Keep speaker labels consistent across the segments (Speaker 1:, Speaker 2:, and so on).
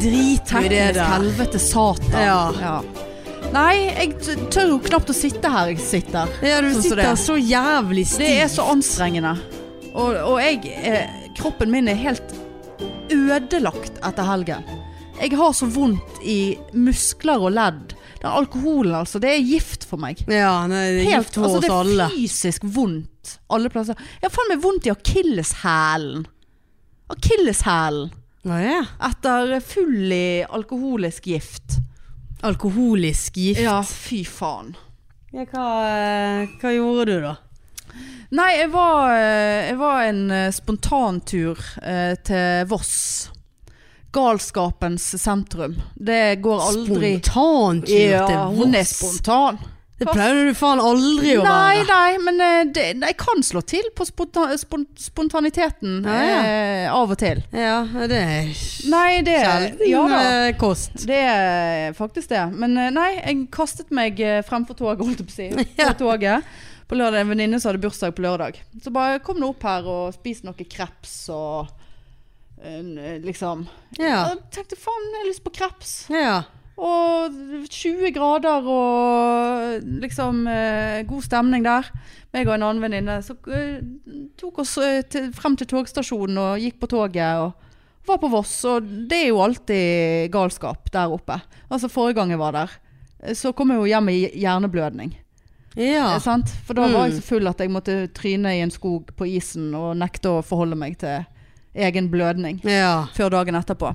Speaker 1: vi det
Speaker 2: Satanisk
Speaker 1: der?
Speaker 2: helvete, satan.
Speaker 1: Ja.
Speaker 2: Nei, jeg t- tør jo knapt å sitte her jeg sitter.
Speaker 1: Ja, du
Speaker 2: Sånn som det
Speaker 1: sitter
Speaker 2: er.
Speaker 1: så jævlig stiv.
Speaker 2: Det er så anstrengende. Og, og jeg eh, Kroppen min er helt ødelagt etter helgen. Jeg har så vondt i muskler og ledd. Den alkoholen, altså. Det er gift for meg.
Speaker 1: Ja, nei, det er
Speaker 2: Helt,
Speaker 1: gift for
Speaker 2: altså,
Speaker 1: oss
Speaker 2: Det
Speaker 1: alle.
Speaker 2: er fysisk vondt alle plasser. Jeg har faen meg vondt i akilleshælen. Akilleshælen.
Speaker 1: Hva er det?
Speaker 2: Etter full i alkoholisk gift.
Speaker 1: Alkoholisk gift.
Speaker 2: Ja, fy faen.
Speaker 1: Ja, hva, eh, hva gjorde du da?
Speaker 2: Nei, jeg var, eh, jeg var en eh, spontantur eh, til Voss. Galskapens sentrum. Det går aldri
Speaker 1: Spontant
Speaker 2: Ja, hun er
Speaker 1: Voss.
Speaker 2: spontan.
Speaker 1: Det pleier du faen aldri å
Speaker 2: Nei,
Speaker 1: være.
Speaker 2: nei, men eh, det, jeg kan slå til på sponta, spon, spontaniteten
Speaker 1: Ja, ja.
Speaker 2: eh, av og til.
Speaker 1: Ja, det er
Speaker 2: Nei, det
Speaker 1: sjelden
Speaker 2: ja, da.
Speaker 1: eh, kost.
Speaker 2: Det er faktisk det. Men eh, nei, jeg kastet meg eh, fremfor toget, holdt jeg på å si. På toget. På lørdag, En venninne som hadde bursdag på lørdag. Så bare kom nå opp her og spis noe kreps og eh, liksom.
Speaker 1: Ja.
Speaker 2: Jeg tenkte faen, jeg har lyst på kreps.
Speaker 1: Ja.
Speaker 2: Og 20 grader og liksom eh, god stemning der. Meg og en annen venninne så, eh, tok oss eh, til, frem til togstasjonen og gikk på toget. Og var på Voss, og det er jo alltid galskap der oppe. Altså Forrige gang jeg var der, eh, så kom jeg jo hjem med hjerneblødning.
Speaker 1: ja.
Speaker 2: Eh, Sant? For da var
Speaker 1: Mm.
Speaker 2: jeg så full at jeg måtte tryne i en skog på isen og nekte å forholde meg til egen blødning
Speaker 1: ja.
Speaker 2: før dagen etterpå.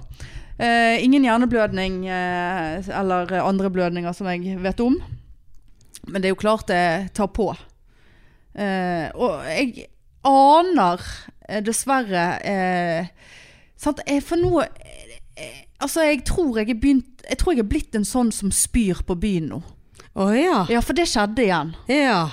Speaker 2: Eh, ingen hjerneblødning eh, eller andre blødninger som jeg vet om. Men det er jo klart det tar på. Eh, og jeg aner eh, dessverre eh, sant? eh, For nå eh, eh, Altså, jeg tror jeg, er begynt, jeg tror jeg er blitt en sånn som spyr på byen nå.
Speaker 1: Å ja.
Speaker 2: Ja, for det skjedde igjen.
Speaker 1: Ja.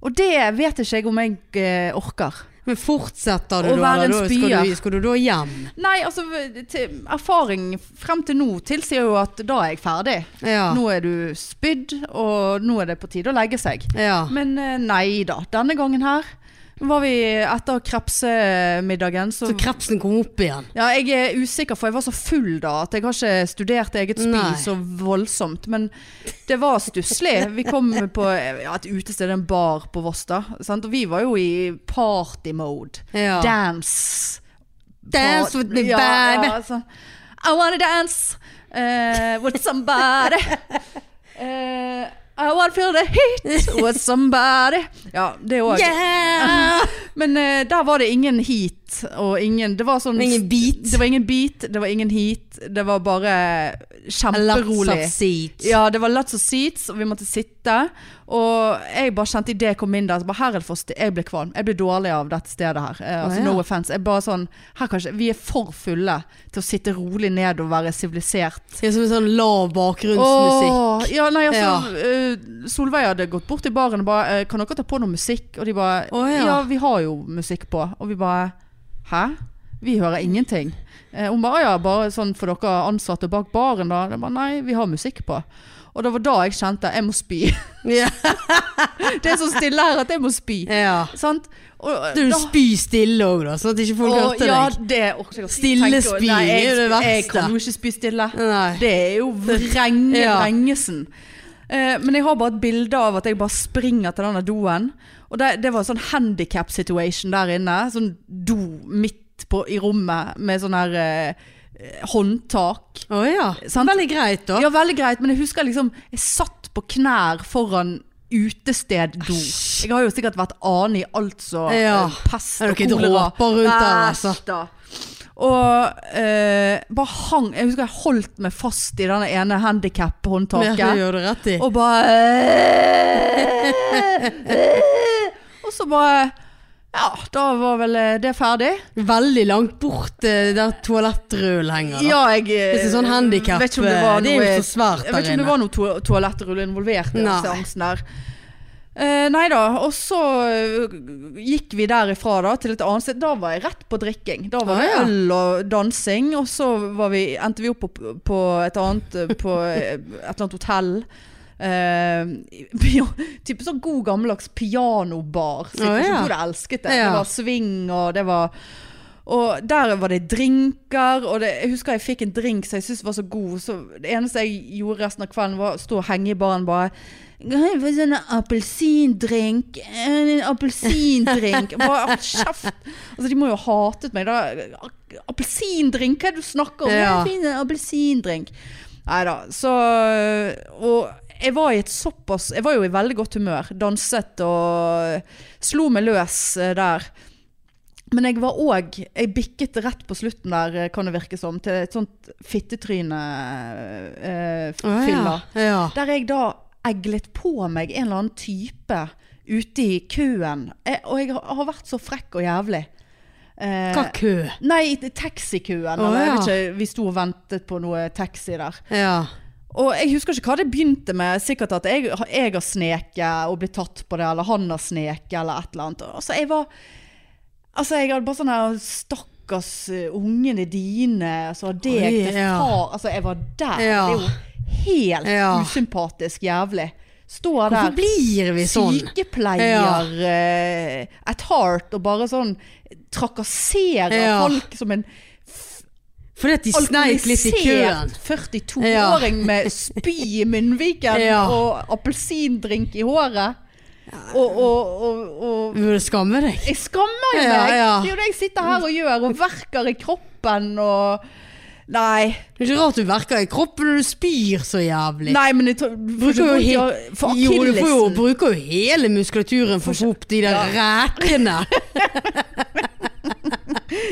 Speaker 2: Og det vet ikke jeg om jeg eh, orker.
Speaker 1: Men fortsetter
Speaker 2: Å
Speaker 1: du da?
Speaker 2: være en
Speaker 1: eller da? Skal
Speaker 2: spyer.
Speaker 1: du, skal du da hjem?
Speaker 2: Nei, altså til, Erfaring frem til nå tilsier jo at da er jeg ferdig.
Speaker 1: Ja.
Speaker 2: Nå er du spydd, og nå er det på tide å legge seg.
Speaker 1: ja.
Speaker 2: Men eh, nei da. Denne gangen her var vi etter krepsemiddagen, så,
Speaker 1: Så krepsen kom opp igjen.
Speaker 2: ja, jeg er usikker, for jeg var så full da at jeg har ikke studert eget spy
Speaker 1: Nei.
Speaker 2: så voldsomt. Men det var stusslig. Vi kom på ja, et utested, en bar på Voss da. sant? Og vi var jo i party-mode.
Speaker 1: Ja.
Speaker 2: Dance.
Speaker 1: Dance with me,
Speaker 2: Ja,
Speaker 1: baby.
Speaker 2: ja, altså. I wanna dance eh, with somebody. Eh, I wanna feel the heat with somebody. Ja, det òg.
Speaker 1: Yeah!
Speaker 2: Men eh, der var det ingen heat og ingen Det var sånn
Speaker 1: Ingen beat.
Speaker 2: Det var ingen beat, det var ingen heat. Det var bare
Speaker 1: Lots of
Speaker 2: kjemperolig.
Speaker 1: seats.
Speaker 2: Ja, det var lots of seats, og vi måtte sitte. Og jeg bare kjente idet jeg kom inn der så bare, her er det for sti- Jeg ble kvalm. Jeg ble dårlig av dette stedet her. Eh, altså,
Speaker 1: Å, ja.
Speaker 2: No offense. Jeg bare sånn her kan ikke, Vi er for fulle til å sitte rolig ned og være sivilisert.
Speaker 1: Det er som en sånn lav bakgrunnsmusikk.
Speaker 2: Åh, ja, nei, altså, eh, Solveig hadde gått bort til baren og bare eh, 'Kan dere ta på noe musikk?' Og de bare
Speaker 1: Å, ja.
Speaker 2: ja, vi har jo musikk på. Og vi bare Hæ? Vi hører ingenting. Eh, hun bare ja, bare sånn for dere ansatte bak baren, da. Jeg bare, Nei, vi har musikk på. Og det var da jeg kjente jeg må spy.
Speaker 1: Ja.
Speaker 2: Det er så stille her at jeg må spy.
Speaker 1: ja.
Speaker 2: Sant? Og, eh,
Speaker 1: Du spy stille òg, da, sånn at ikke folk
Speaker 2: og,
Speaker 1: hørte
Speaker 2: ja,
Speaker 1: deg.
Speaker 2: det orker jeg ikke.
Speaker 1: Stille
Speaker 2: Tenker jeg,
Speaker 1: spy
Speaker 2: nei, jeg-
Speaker 1: er jo det verste.
Speaker 2: Jeg kan jo ikke spy stille.
Speaker 1: Nei.
Speaker 2: Det er jo vrenge,
Speaker 1: Ja.
Speaker 2: vrengesen. Eh, men jeg har bare et bilde av at jeg bare springer til denne doen. Og det, det var en sånn handicap situation der inne. Sånn do midt på, i rommet med sånn her eh, håndtak.
Speaker 1: Å ja.
Speaker 2: Sant?
Speaker 1: Veldig greit, da.
Speaker 2: Ja, veldig greit, men jeg husker liksom Jeg satt på knær foran utesteddo.
Speaker 1: Æsj.
Speaker 2: Jeg har jo sikkert vært ane i alt som
Speaker 1: Ja.
Speaker 2: eh, pest
Speaker 1: Er
Speaker 2: og
Speaker 1: det ikke
Speaker 2: kolera.
Speaker 1: dråper rundt der, altså?
Speaker 2: Æsj, da. Og eh, bare hang Jeg husker jeg holdt meg fast i denne ene
Speaker 1: Ja, det
Speaker 2: handikap-håndtaket.
Speaker 1: gjør du rett i.
Speaker 2: Og bare eh. Og så bare Ja, da var vel eh, det ferdig.
Speaker 1: Veldig langt bort eh, der toalettrullen henger. Da.
Speaker 2: Ja, jeg eh,
Speaker 1: Hvis det er sånn handicap, eh,
Speaker 2: vet ikke om det, var
Speaker 1: det er
Speaker 2: noe-
Speaker 1: jo så svært
Speaker 2: Jeg vet
Speaker 1: der
Speaker 2: ikke om det
Speaker 1: inne.
Speaker 2: var noe to toalettrull involvert i den
Speaker 1: Nei.
Speaker 2: seansen der. Eh, nei da, og så eh, gikk vi derifra da, til et annet sted. Da var jeg rett på drikking. Da var
Speaker 1: Ah,
Speaker 2: det
Speaker 1: ja.
Speaker 2: øl og dansing, og så var vi, endte vi opp på, på et annet eh, På eh, et eller annet hotell. Uh, type sånn god gammeldags pianobar.
Speaker 1: Å,
Speaker 2: Sikkert
Speaker 1: ja.
Speaker 2: som du hadde elsket det.
Speaker 1: Ja.
Speaker 2: Det var swing og det var Og der var det drinker, og det, jeg husker jeg fikk en drink som jeg syntes var så god. Så det eneste jeg gjorde resten av kvelden, var å stå og henge i baren bare Kan jeg få sånn appelsindrink? En appelsindrink? Bare hold kjeft! Altså, de må jo ha hatet meg, da. Appelsindrink, hva er det du snakker om?
Speaker 1: Ja.
Speaker 2: Ja. Fin appelsindrink. Nei da. Så Og jeg var i et såpass Jeg var jo i veldig godt humør. Danset og slo meg løs eh, der. Men jeg var òg Jeg bikket rett på slutten der, eh, kan det virke som, til et sånt fittetryne-fylla.
Speaker 1: ja.
Speaker 2: Der jeg da eglet på meg en eller annen type ute i køen. Jeg, og jeg har har vært så frekk og jævlig. Eh,
Speaker 1: Hva kø?
Speaker 2: Nei, i taxikøen.
Speaker 1: Å,
Speaker 2: eller jeg
Speaker 1: ja.
Speaker 2: vet ikke, vi sto og ventet på noe taxi der.
Speaker 1: Ja.
Speaker 2: Og jeg husker ikke hva det begynte med. Sikkert at jeg, jeg har sneket og blitt tatt på det, eller han har sneket, eller et eller annet. Altså, jeg var Altså, jeg hadde bare sånn her Stakkars eh, ungene dine, altså deg
Speaker 1: Oi,
Speaker 2: til
Speaker 1: ja.
Speaker 2: far Altså, jeg var der.
Speaker 1: Ja.
Speaker 2: Det er jo helt
Speaker 1: Ja.
Speaker 2: usympatisk jævlig. Står der
Speaker 1: Hvorfor blir vi sånn?
Speaker 2: sykepleier eh, at heart og bare sånn trakasserer
Speaker 1: Ja.
Speaker 2: folk som en
Speaker 1: Fordi at de sneik litt i køen.
Speaker 2: alkoholisert 42-åring med spy i munnviken
Speaker 1: Ja.
Speaker 2: og appelsindrink i håret. Og, og, og, og
Speaker 1: Du burde skamme deg.
Speaker 2: jeg skammer jo
Speaker 1: Ja,
Speaker 2: meg!
Speaker 1: ja.
Speaker 2: Det er jo det jeg sitter her og gjør, og verker i kroppen og Nei.
Speaker 1: Det er ikke rart du verker i kroppen når du spyr så jævlig.
Speaker 2: Nei, men jeg tror- får
Speaker 1: Du
Speaker 2: ikke vondt
Speaker 1: får
Speaker 2: i
Speaker 1: jo
Speaker 2: å-
Speaker 1: he-
Speaker 2: For
Speaker 1: jo, du får jo,
Speaker 2: akillesen.
Speaker 1: bruker jo hele muskulaturen for å få opp de der rekene.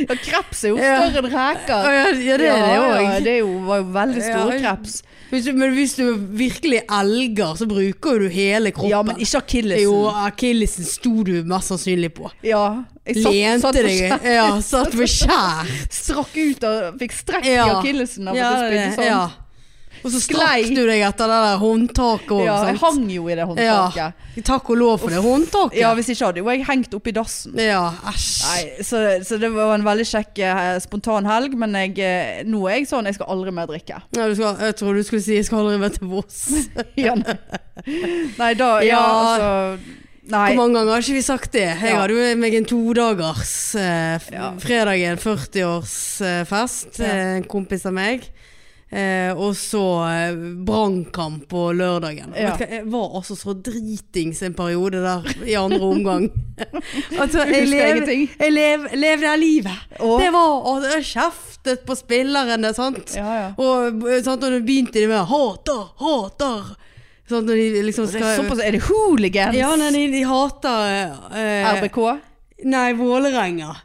Speaker 2: Ja, Kreps er jo
Speaker 1: Ja.
Speaker 2: større enn reker.
Speaker 1: Ja, ja, det er det
Speaker 2: Ja,
Speaker 1: òg.
Speaker 2: det er jo, var jo veldig store
Speaker 1: Ja.
Speaker 2: kreps.
Speaker 1: Hvis du- Men hvis du virkelig elger, så bruker jo du hele kroppen.
Speaker 2: Ja, men ikke akillesen.
Speaker 1: Jo, akillesen sto du mest sannsynlig på.
Speaker 2: Ja, jeg satt,
Speaker 1: Lente
Speaker 2: satt på
Speaker 1: deg
Speaker 2: skjerm,
Speaker 1: Ja, satt på skjær.
Speaker 2: strakk ut og fikk strekk i
Speaker 1: Ja.
Speaker 2: akillesen av at jeg spydde sånn.
Speaker 1: ja. Og så
Speaker 2: Sklei.
Speaker 1: strakk du deg etter det der håndtaket òg.
Speaker 2: Ja, jeg hang jo i det
Speaker 1: Ja.
Speaker 2: håndtaket.
Speaker 1: Takk og lov for det håndtaket.
Speaker 2: Ja, hvis ikke hadde jo jeg hengt oppi dassen.
Speaker 1: Ja, æsj.
Speaker 2: Nei, så, så det var en veldig kjekk eh, spontan helg, men jeg, eh, nå er jeg sånn jeg skal aldri mer drikke.
Speaker 1: Ja, du skal, jeg tror du skulle si 'jeg skal aldri være til Voss'.
Speaker 2: Igjen. nei, da Ja,
Speaker 1: Ja.
Speaker 2: altså
Speaker 1: Hvor
Speaker 2: Nei.
Speaker 1: mange ganger har ikke vi sagt det? Jeg
Speaker 2: Ja.
Speaker 1: hadde jo meg en todagers eh, f-
Speaker 2: Ja.
Speaker 1: fredagen 40-årsfest.
Speaker 2: Ja.
Speaker 1: Eh, en kompis av meg. Eh, og så eh, brannkamp på lørdagen. Og
Speaker 2: Ja.
Speaker 1: Vet du hva, jeg var altså så dritings en periode der i andre omgang. altså,
Speaker 2: husker
Speaker 1: jeg, lev,
Speaker 2: ingenting.
Speaker 1: jeg lev, levde det livet.
Speaker 2: Og,
Speaker 1: Det var, og jeg kjeftet på spillerne, sant.
Speaker 2: ja, ja.
Speaker 1: Og, eh, sant, og da begynte de med 'hater, hater'. Sant, når de liksom
Speaker 2: Og det
Speaker 1: skal,
Speaker 2: er, såpass, er det hooligans?
Speaker 1: ja, nei, de, de hater eh,
Speaker 2: RBK?
Speaker 1: Nei, Vålerenga.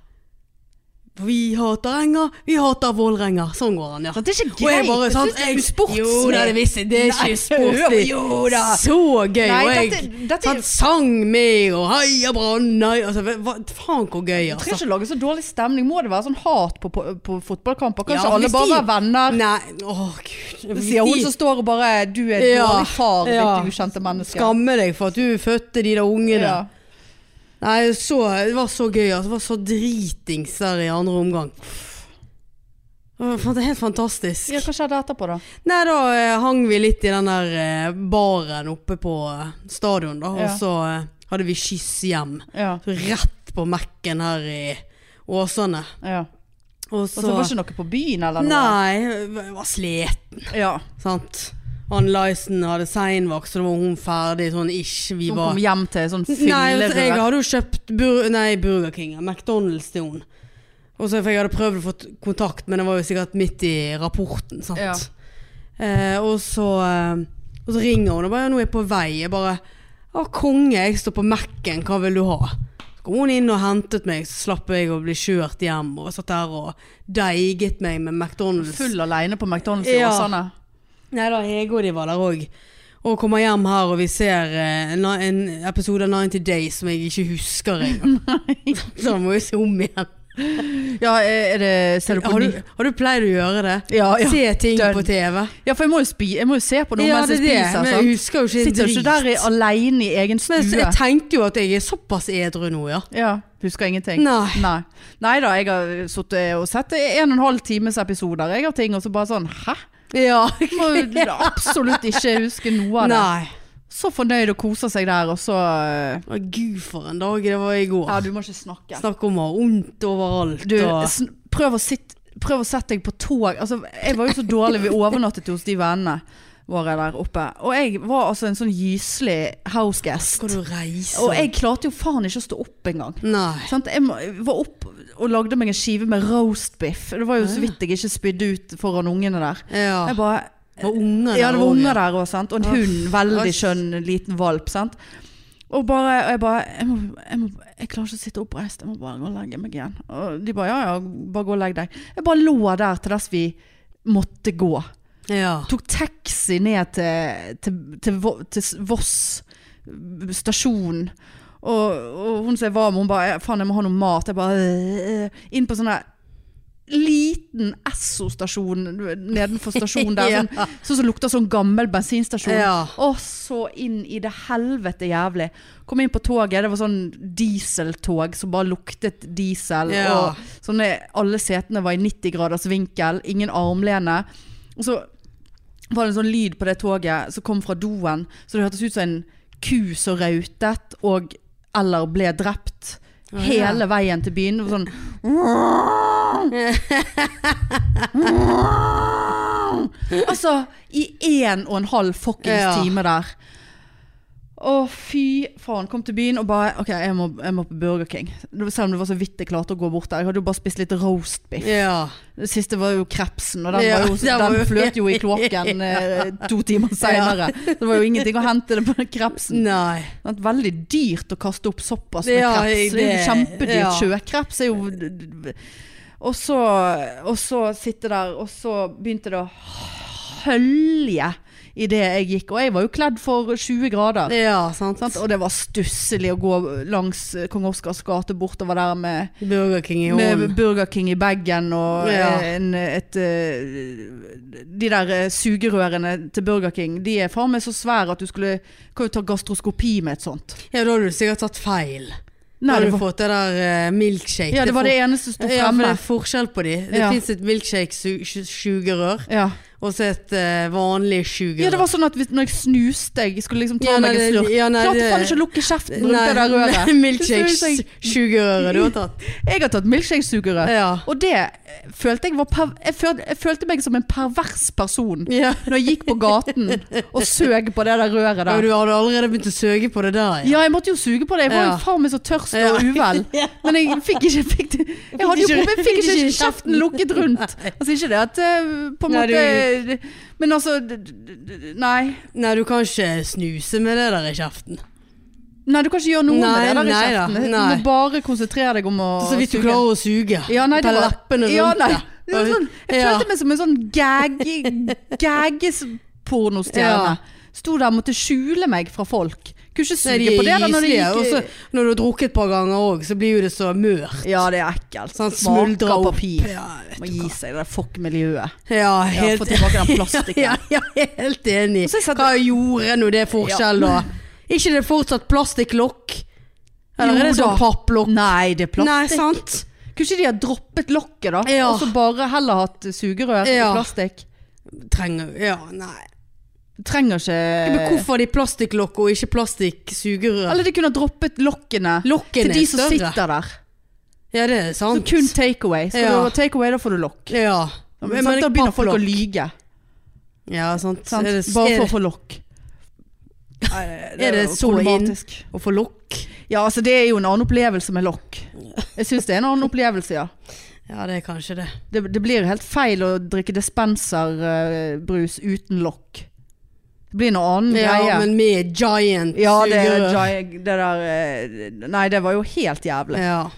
Speaker 1: Vi hater Enga, vi hater Vålerenga. Sånn går han, ja.
Speaker 2: Sant, det er ikke
Speaker 1: Og jeg
Speaker 2: greit.
Speaker 1: bare
Speaker 2: Jeg
Speaker 1: sånn
Speaker 2: synes det er usportslig.
Speaker 1: Jo da, det visste jeg. Det er
Speaker 2: Nei,
Speaker 1: ikke sportslig.
Speaker 2: jo da.
Speaker 1: Så gøy.
Speaker 2: Nei,
Speaker 1: og jeg
Speaker 2: dette- dette er-
Speaker 1: sant, sang med og heia Brann. nei, Altså, hva, faen hvor gøy,
Speaker 2: Jeg trenger
Speaker 1: altså.
Speaker 2: ikke lage så dårlig stemning. Må det være sånn hat på, på, på fotballkamper? Kan
Speaker 1: Ja,
Speaker 2: ikke alle
Speaker 1: hvis
Speaker 2: bare
Speaker 1: de-
Speaker 2: være venner?
Speaker 1: Nei, åh gud.
Speaker 2: Det sier hun
Speaker 1: De-
Speaker 2: som står og bare 'Du er et
Speaker 1: Ja,
Speaker 2: dårlig far,
Speaker 1: ja.
Speaker 2: ditt ukjente menneske'.
Speaker 1: Skamme deg for at du fødte de der ungene.
Speaker 2: Ja.
Speaker 1: Nei, så, det var så gøy. Altså. Det var så dritings der i andre omgang. Det var fan- helt fantastisk.
Speaker 2: ja, hva skjedde etterpå, da?
Speaker 1: Nei, da eh, hang vi litt i den der eh, baren oppe på eh, stadion, da.
Speaker 2: Ja.
Speaker 1: Og så eh, hadde vi skyss hjem.
Speaker 2: Ja.
Speaker 1: Så Rett på Mac-en her i Åsane.
Speaker 2: ja.
Speaker 1: Og
Speaker 2: Og så
Speaker 1: så,
Speaker 2: var Altså, det ikke noe på byen eller noe?
Speaker 1: Nei, jeg var sliten,
Speaker 2: Ja.
Speaker 1: sant. Han Lyson hadde seinvakt, så da var hun ferdig sånn ish. Vi
Speaker 2: Hun
Speaker 1: var
Speaker 2: kom hjem til sånn
Speaker 1: Nei, altså, jeg
Speaker 2: fyllerød.
Speaker 1: hadde jo kjøpt bur nei, Burger King, ja, McDonald's til hun. Og så for jeg hadde prøvd å få t- kontakt, men det var jo sikkert midt i rapporten, sant.
Speaker 2: Ja.
Speaker 1: Eh, og, så, eh, og så ringer hun og bare, ja, nå er jeg på vei. Jeg bare, ja, konge, jeg står på Mac-en, hva vil du ha? Så kom hun inn og hentet meg, så slapp jeg å bli kjørt hjem, og satt der og deiget meg med McDonald's.
Speaker 2: Full aleine på McDonald's i
Speaker 1: Ja.
Speaker 2: Åsane.
Speaker 1: Nei da, Hege og de var der òg. Og kommer hjem her, og vi ser eh, en, en episode av 90 Days som jeg ikke husker engang. Så da må vi se om igjen.
Speaker 2: Ja, er det Ser du på
Speaker 1: Har
Speaker 2: ny?
Speaker 1: du, har du pleid å gjøre det?
Speaker 2: Ja, ja.
Speaker 1: Se ting
Speaker 2: dønn.
Speaker 1: på TV?
Speaker 2: ja, for jeg må jo, spi, jeg må jo se på noe
Speaker 1: Ja,
Speaker 2: mens jeg
Speaker 1: det er det.
Speaker 2: spiser.
Speaker 1: Men
Speaker 2: sant?
Speaker 1: jeg husker jo ikke en
Speaker 2: Sitter jo ikke der i- aleine i egen
Speaker 1: Men jeg,
Speaker 2: stue.
Speaker 1: jeg tenkte jo at jeg er såpass edru nå, ja.
Speaker 2: Ja, Husker ingenting.
Speaker 1: Nei.
Speaker 2: Nei. Nei da, jeg har sittet og sett en og en halv times episoder jeg har ting, og så bare sånn Hæ?
Speaker 1: Ja.
Speaker 2: Må jo absolutt ikke huske noe av det.
Speaker 1: Nei.
Speaker 2: Så fornøyd og koser seg der, og så eh,
Speaker 1: Å, Gud, for en dag det var i går.
Speaker 2: Ja, du må ikke snakke.
Speaker 1: Snakk om å ha vondt overalt.
Speaker 2: Du,
Speaker 1: og,
Speaker 2: sn prøv, å sitt, prøv å sette deg på tog. Altså, jeg var jo så dårlig. Vi overnattet jo hos de vennene våre der oppe. Og jeg var altså en sånn gyselig houseguest.
Speaker 1: skal du reise?
Speaker 2: Og jeg klarte jo faen ikke å stå opp engang.
Speaker 1: Nei.
Speaker 2: Sant? Jeg må- var opp og lagde meg en skive med roast biff. Det var jo så vidt jeg ikke spydde ut foran ungene der.
Speaker 1: Ja.
Speaker 2: Jeg bare,
Speaker 1: Og unger
Speaker 2: ja, det var
Speaker 1: også,
Speaker 2: unger der òg, sant. Og en
Speaker 1: Ja.
Speaker 2: hund. Veldig
Speaker 1: Ass.
Speaker 2: skjønn liten valp, sant. Og bare, og jeg bare jeg, må, jeg, må, jeg klarer ikke å sitte oppreist, jeg må bare gå og legge meg igjen. Og de bare ja ja, bare gå og legg deg. Jeg bare lå der til dess vi måtte gå.
Speaker 1: Ja.
Speaker 2: Tok taxi ned til, til, til, Vo- til Voss stasjon. Og, og hun som jeg var med, hun bare faen, jeg må ha noe mat. Jeg bare øh, Inn på sånn der liten Esso-stasjon nedenfor stasjonen der.
Speaker 1: Ja.
Speaker 2: sånn, sånn som lukter sånn gammel bensinstasjon.
Speaker 1: Ja.
Speaker 2: Og så inn i det helvete jævlig. Kom inn på toget, det var sånn dieseltog som bare luktet diesel.
Speaker 1: Ja.
Speaker 2: Og sånne, alle setene var i 90 graders vinkel, ingen armlene. Og så var det en sånn lyd på det toget som kom fra doen, så det hørtes ut som en ku som rautet og eller ble drept.
Speaker 1: Ja.
Speaker 2: Hele veien til byen. og Sånn Altså, i én og en halv fuckings
Speaker 1: Ja.
Speaker 2: time der. Å, fy faen. Kom til byen og bare OK, jeg må, jeg må på Burger King. Det var- Selv om det var så vidt jeg klarte å gå bort der. Jeg hadde jo bare spist litt roast biff.
Speaker 1: ja.
Speaker 2: Det siste var jo krepsen, og den,
Speaker 1: Ja,
Speaker 2: var jo,
Speaker 1: den var
Speaker 2: den
Speaker 1: jo-
Speaker 2: fløt jo i kloakken eh, to timer seinere. Det var jo ingenting å hente det på den krepsen.
Speaker 1: Nei.
Speaker 2: Det er veldig dyrt å kaste opp såpass med
Speaker 1: Mm. Ja,
Speaker 2: kreps. Det er jo
Speaker 1: det-
Speaker 2: kjempedyrt.
Speaker 1: ja.
Speaker 2: Sjøkreps er jo og så, og så sitte der, og så begynte det å hølje idet jeg gikk. Og jeg var jo kledd for 20 grader.
Speaker 1: Ja, sant.
Speaker 2: Sant? Og det var stusslig å gå langs Kong Oscars gate bortover der med
Speaker 1: Burger King i
Speaker 2: med
Speaker 1: hånden.
Speaker 2: Burger King i bagen og
Speaker 1: Ja.
Speaker 2: en, et eh, De der eh, sugerørene til Burger King, de er faen meg så svære at du skulle Kan jo ta gastroskopi med et sånt.
Speaker 1: Ja, da har du sikkert tatt feil.
Speaker 2: Nei,
Speaker 1: Da har
Speaker 2: det
Speaker 1: du
Speaker 2: var,
Speaker 1: fått det der eh, milkshake.
Speaker 2: ja, det var
Speaker 1: er
Speaker 2: det eneste som sto
Speaker 1: for- Ja, men
Speaker 2: fremme.
Speaker 1: det er forskjell på de. Det
Speaker 2: Ja.
Speaker 1: finnes et milkshake-sugerør,
Speaker 2: Ja.
Speaker 1: og så et eh, vanlig sugerør.
Speaker 2: ja, det var sånn at hvis, når jeg snuste, jeg skulle liksom ta
Speaker 1: Ja, nei,
Speaker 2: meg en
Speaker 1: det-
Speaker 2: slurk.
Speaker 1: ja, nei,
Speaker 2: Klarte
Speaker 1: det-
Speaker 2: faen ikke å lukke kjeften rundt
Speaker 1: Nei,
Speaker 2: det der røret. Det
Speaker 1: Milkshake-sugerøret du har tatt.
Speaker 2: Jeg har tatt milkshake-sugerør.
Speaker 1: Ja.
Speaker 2: Og det eh, følte jeg var per jeg, følte, jeg følte meg som en pervers person
Speaker 1: ja.
Speaker 2: når jeg gikk på gaten og søg på det der røret der.
Speaker 1: Ja, Du hadde allerede begynt å søke på det der.
Speaker 2: Ja, jeg måtte jo suge på det. Jeg var jo
Speaker 1: Ja.
Speaker 2: faen meg så tørst
Speaker 1: Ja.
Speaker 2: og uvel. Men jeg fikk ikke, fikk det. Jeg hadde jo
Speaker 1: ikke-
Speaker 2: problemer, fikk ikke
Speaker 1: fikk ikke
Speaker 2: kjeften lukket rundt. Altså ikke det at eh, på en
Speaker 1: Nei,
Speaker 2: måte Men altså d- d- d- Nei.
Speaker 1: Nei, du kan ikke snuse med det der i kjeften.
Speaker 2: Nei, du kan ikke gjøre noe
Speaker 1: Nei,
Speaker 2: med det der i
Speaker 1: nei da,
Speaker 2: kjeften. Du
Speaker 1: nei.
Speaker 2: må bare konsentrere deg om å
Speaker 1: Så vidt du
Speaker 2: suge.
Speaker 1: klarer å suge.
Speaker 2: Ja, nei,
Speaker 1: Ta
Speaker 2: det var-
Speaker 1: leppene rundt
Speaker 2: ja, nei.
Speaker 1: det.
Speaker 2: det. var Sånn, jeg
Speaker 1: Ja.
Speaker 2: følte meg som en sånn gag, gaggespornostjerne.
Speaker 1: Ja.
Speaker 2: Sto der og måtte skjule meg fra folk. Kunne ikke
Speaker 1: Nei,
Speaker 2: suge
Speaker 1: de
Speaker 2: på det
Speaker 1: er
Speaker 2: da når det
Speaker 1: islige.
Speaker 2: gikk
Speaker 1: Og så når du har drukket et par ganger òg, så blir jo det så mørt.
Speaker 2: Ja, det er ekkelt.
Speaker 1: Sånn
Speaker 2: Smaker
Speaker 1: smuldrer opp.
Speaker 2: papir.
Speaker 1: Ja, vet
Speaker 2: Må
Speaker 1: du
Speaker 2: gi
Speaker 1: hva.
Speaker 2: seg det der fuck-miljøet.
Speaker 1: Ja,
Speaker 2: Ja,
Speaker 1: helt,
Speaker 2: Få tilbake den plastikken.
Speaker 1: ja, ja, helt enig.
Speaker 2: Og så satt-
Speaker 1: Hva gjorde nå det forskjell, da? Ikke det fortsatt plastikklokk? Eller er det
Speaker 2: Jo da.
Speaker 1: sånn papplokk?
Speaker 2: Nei, det er
Speaker 1: Nei,
Speaker 2: plastikk.
Speaker 1: sant?
Speaker 2: Kunne ikke de ha droppet lokket, da?
Speaker 1: Ja.
Speaker 2: Og så bare heller hatt sugerør i
Speaker 1: Ja.
Speaker 2: plastikk?
Speaker 1: Trenger Ja, nei.
Speaker 2: Trenger
Speaker 1: Men
Speaker 2: ikke
Speaker 1: hvorfor har de plastikklokk og ikke plastikksugerør?
Speaker 2: Eh. Eller de kunne ha droppet lokkene til
Speaker 1: Lokkene
Speaker 2: de
Speaker 1: er
Speaker 2: som
Speaker 1: større.
Speaker 2: sitter der.
Speaker 1: Ja, det er
Speaker 2: Så
Speaker 1: sant.
Speaker 2: kun takeaway. Skal
Speaker 1: Ja.
Speaker 2: du ha takeaway, da får du lokk.
Speaker 1: Ja.
Speaker 2: Men, sant, da begynner folk å lyge.
Speaker 1: Ja, sant.
Speaker 2: Sant?
Speaker 1: Er det,
Speaker 2: Bare for
Speaker 1: er
Speaker 2: å
Speaker 1: det,
Speaker 2: få lokk.
Speaker 1: er det så inn å få lokk?
Speaker 2: Ja, altså det er jo en annen opplevelse med lokk. Jeg syns det er en annen opplevelse, ja.
Speaker 1: Ja, det er kanskje det.
Speaker 2: Det, det blir helt feil å drikke dispenserbrus uten lokk. Det blir noe annen
Speaker 1: Ja,
Speaker 2: greie.
Speaker 1: men med giant
Speaker 2: Mm, ja, det,
Speaker 1: sugerør.
Speaker 2: gi- det der eh, Nei, det var jo helt jævlig.
Speaker 1: Ja.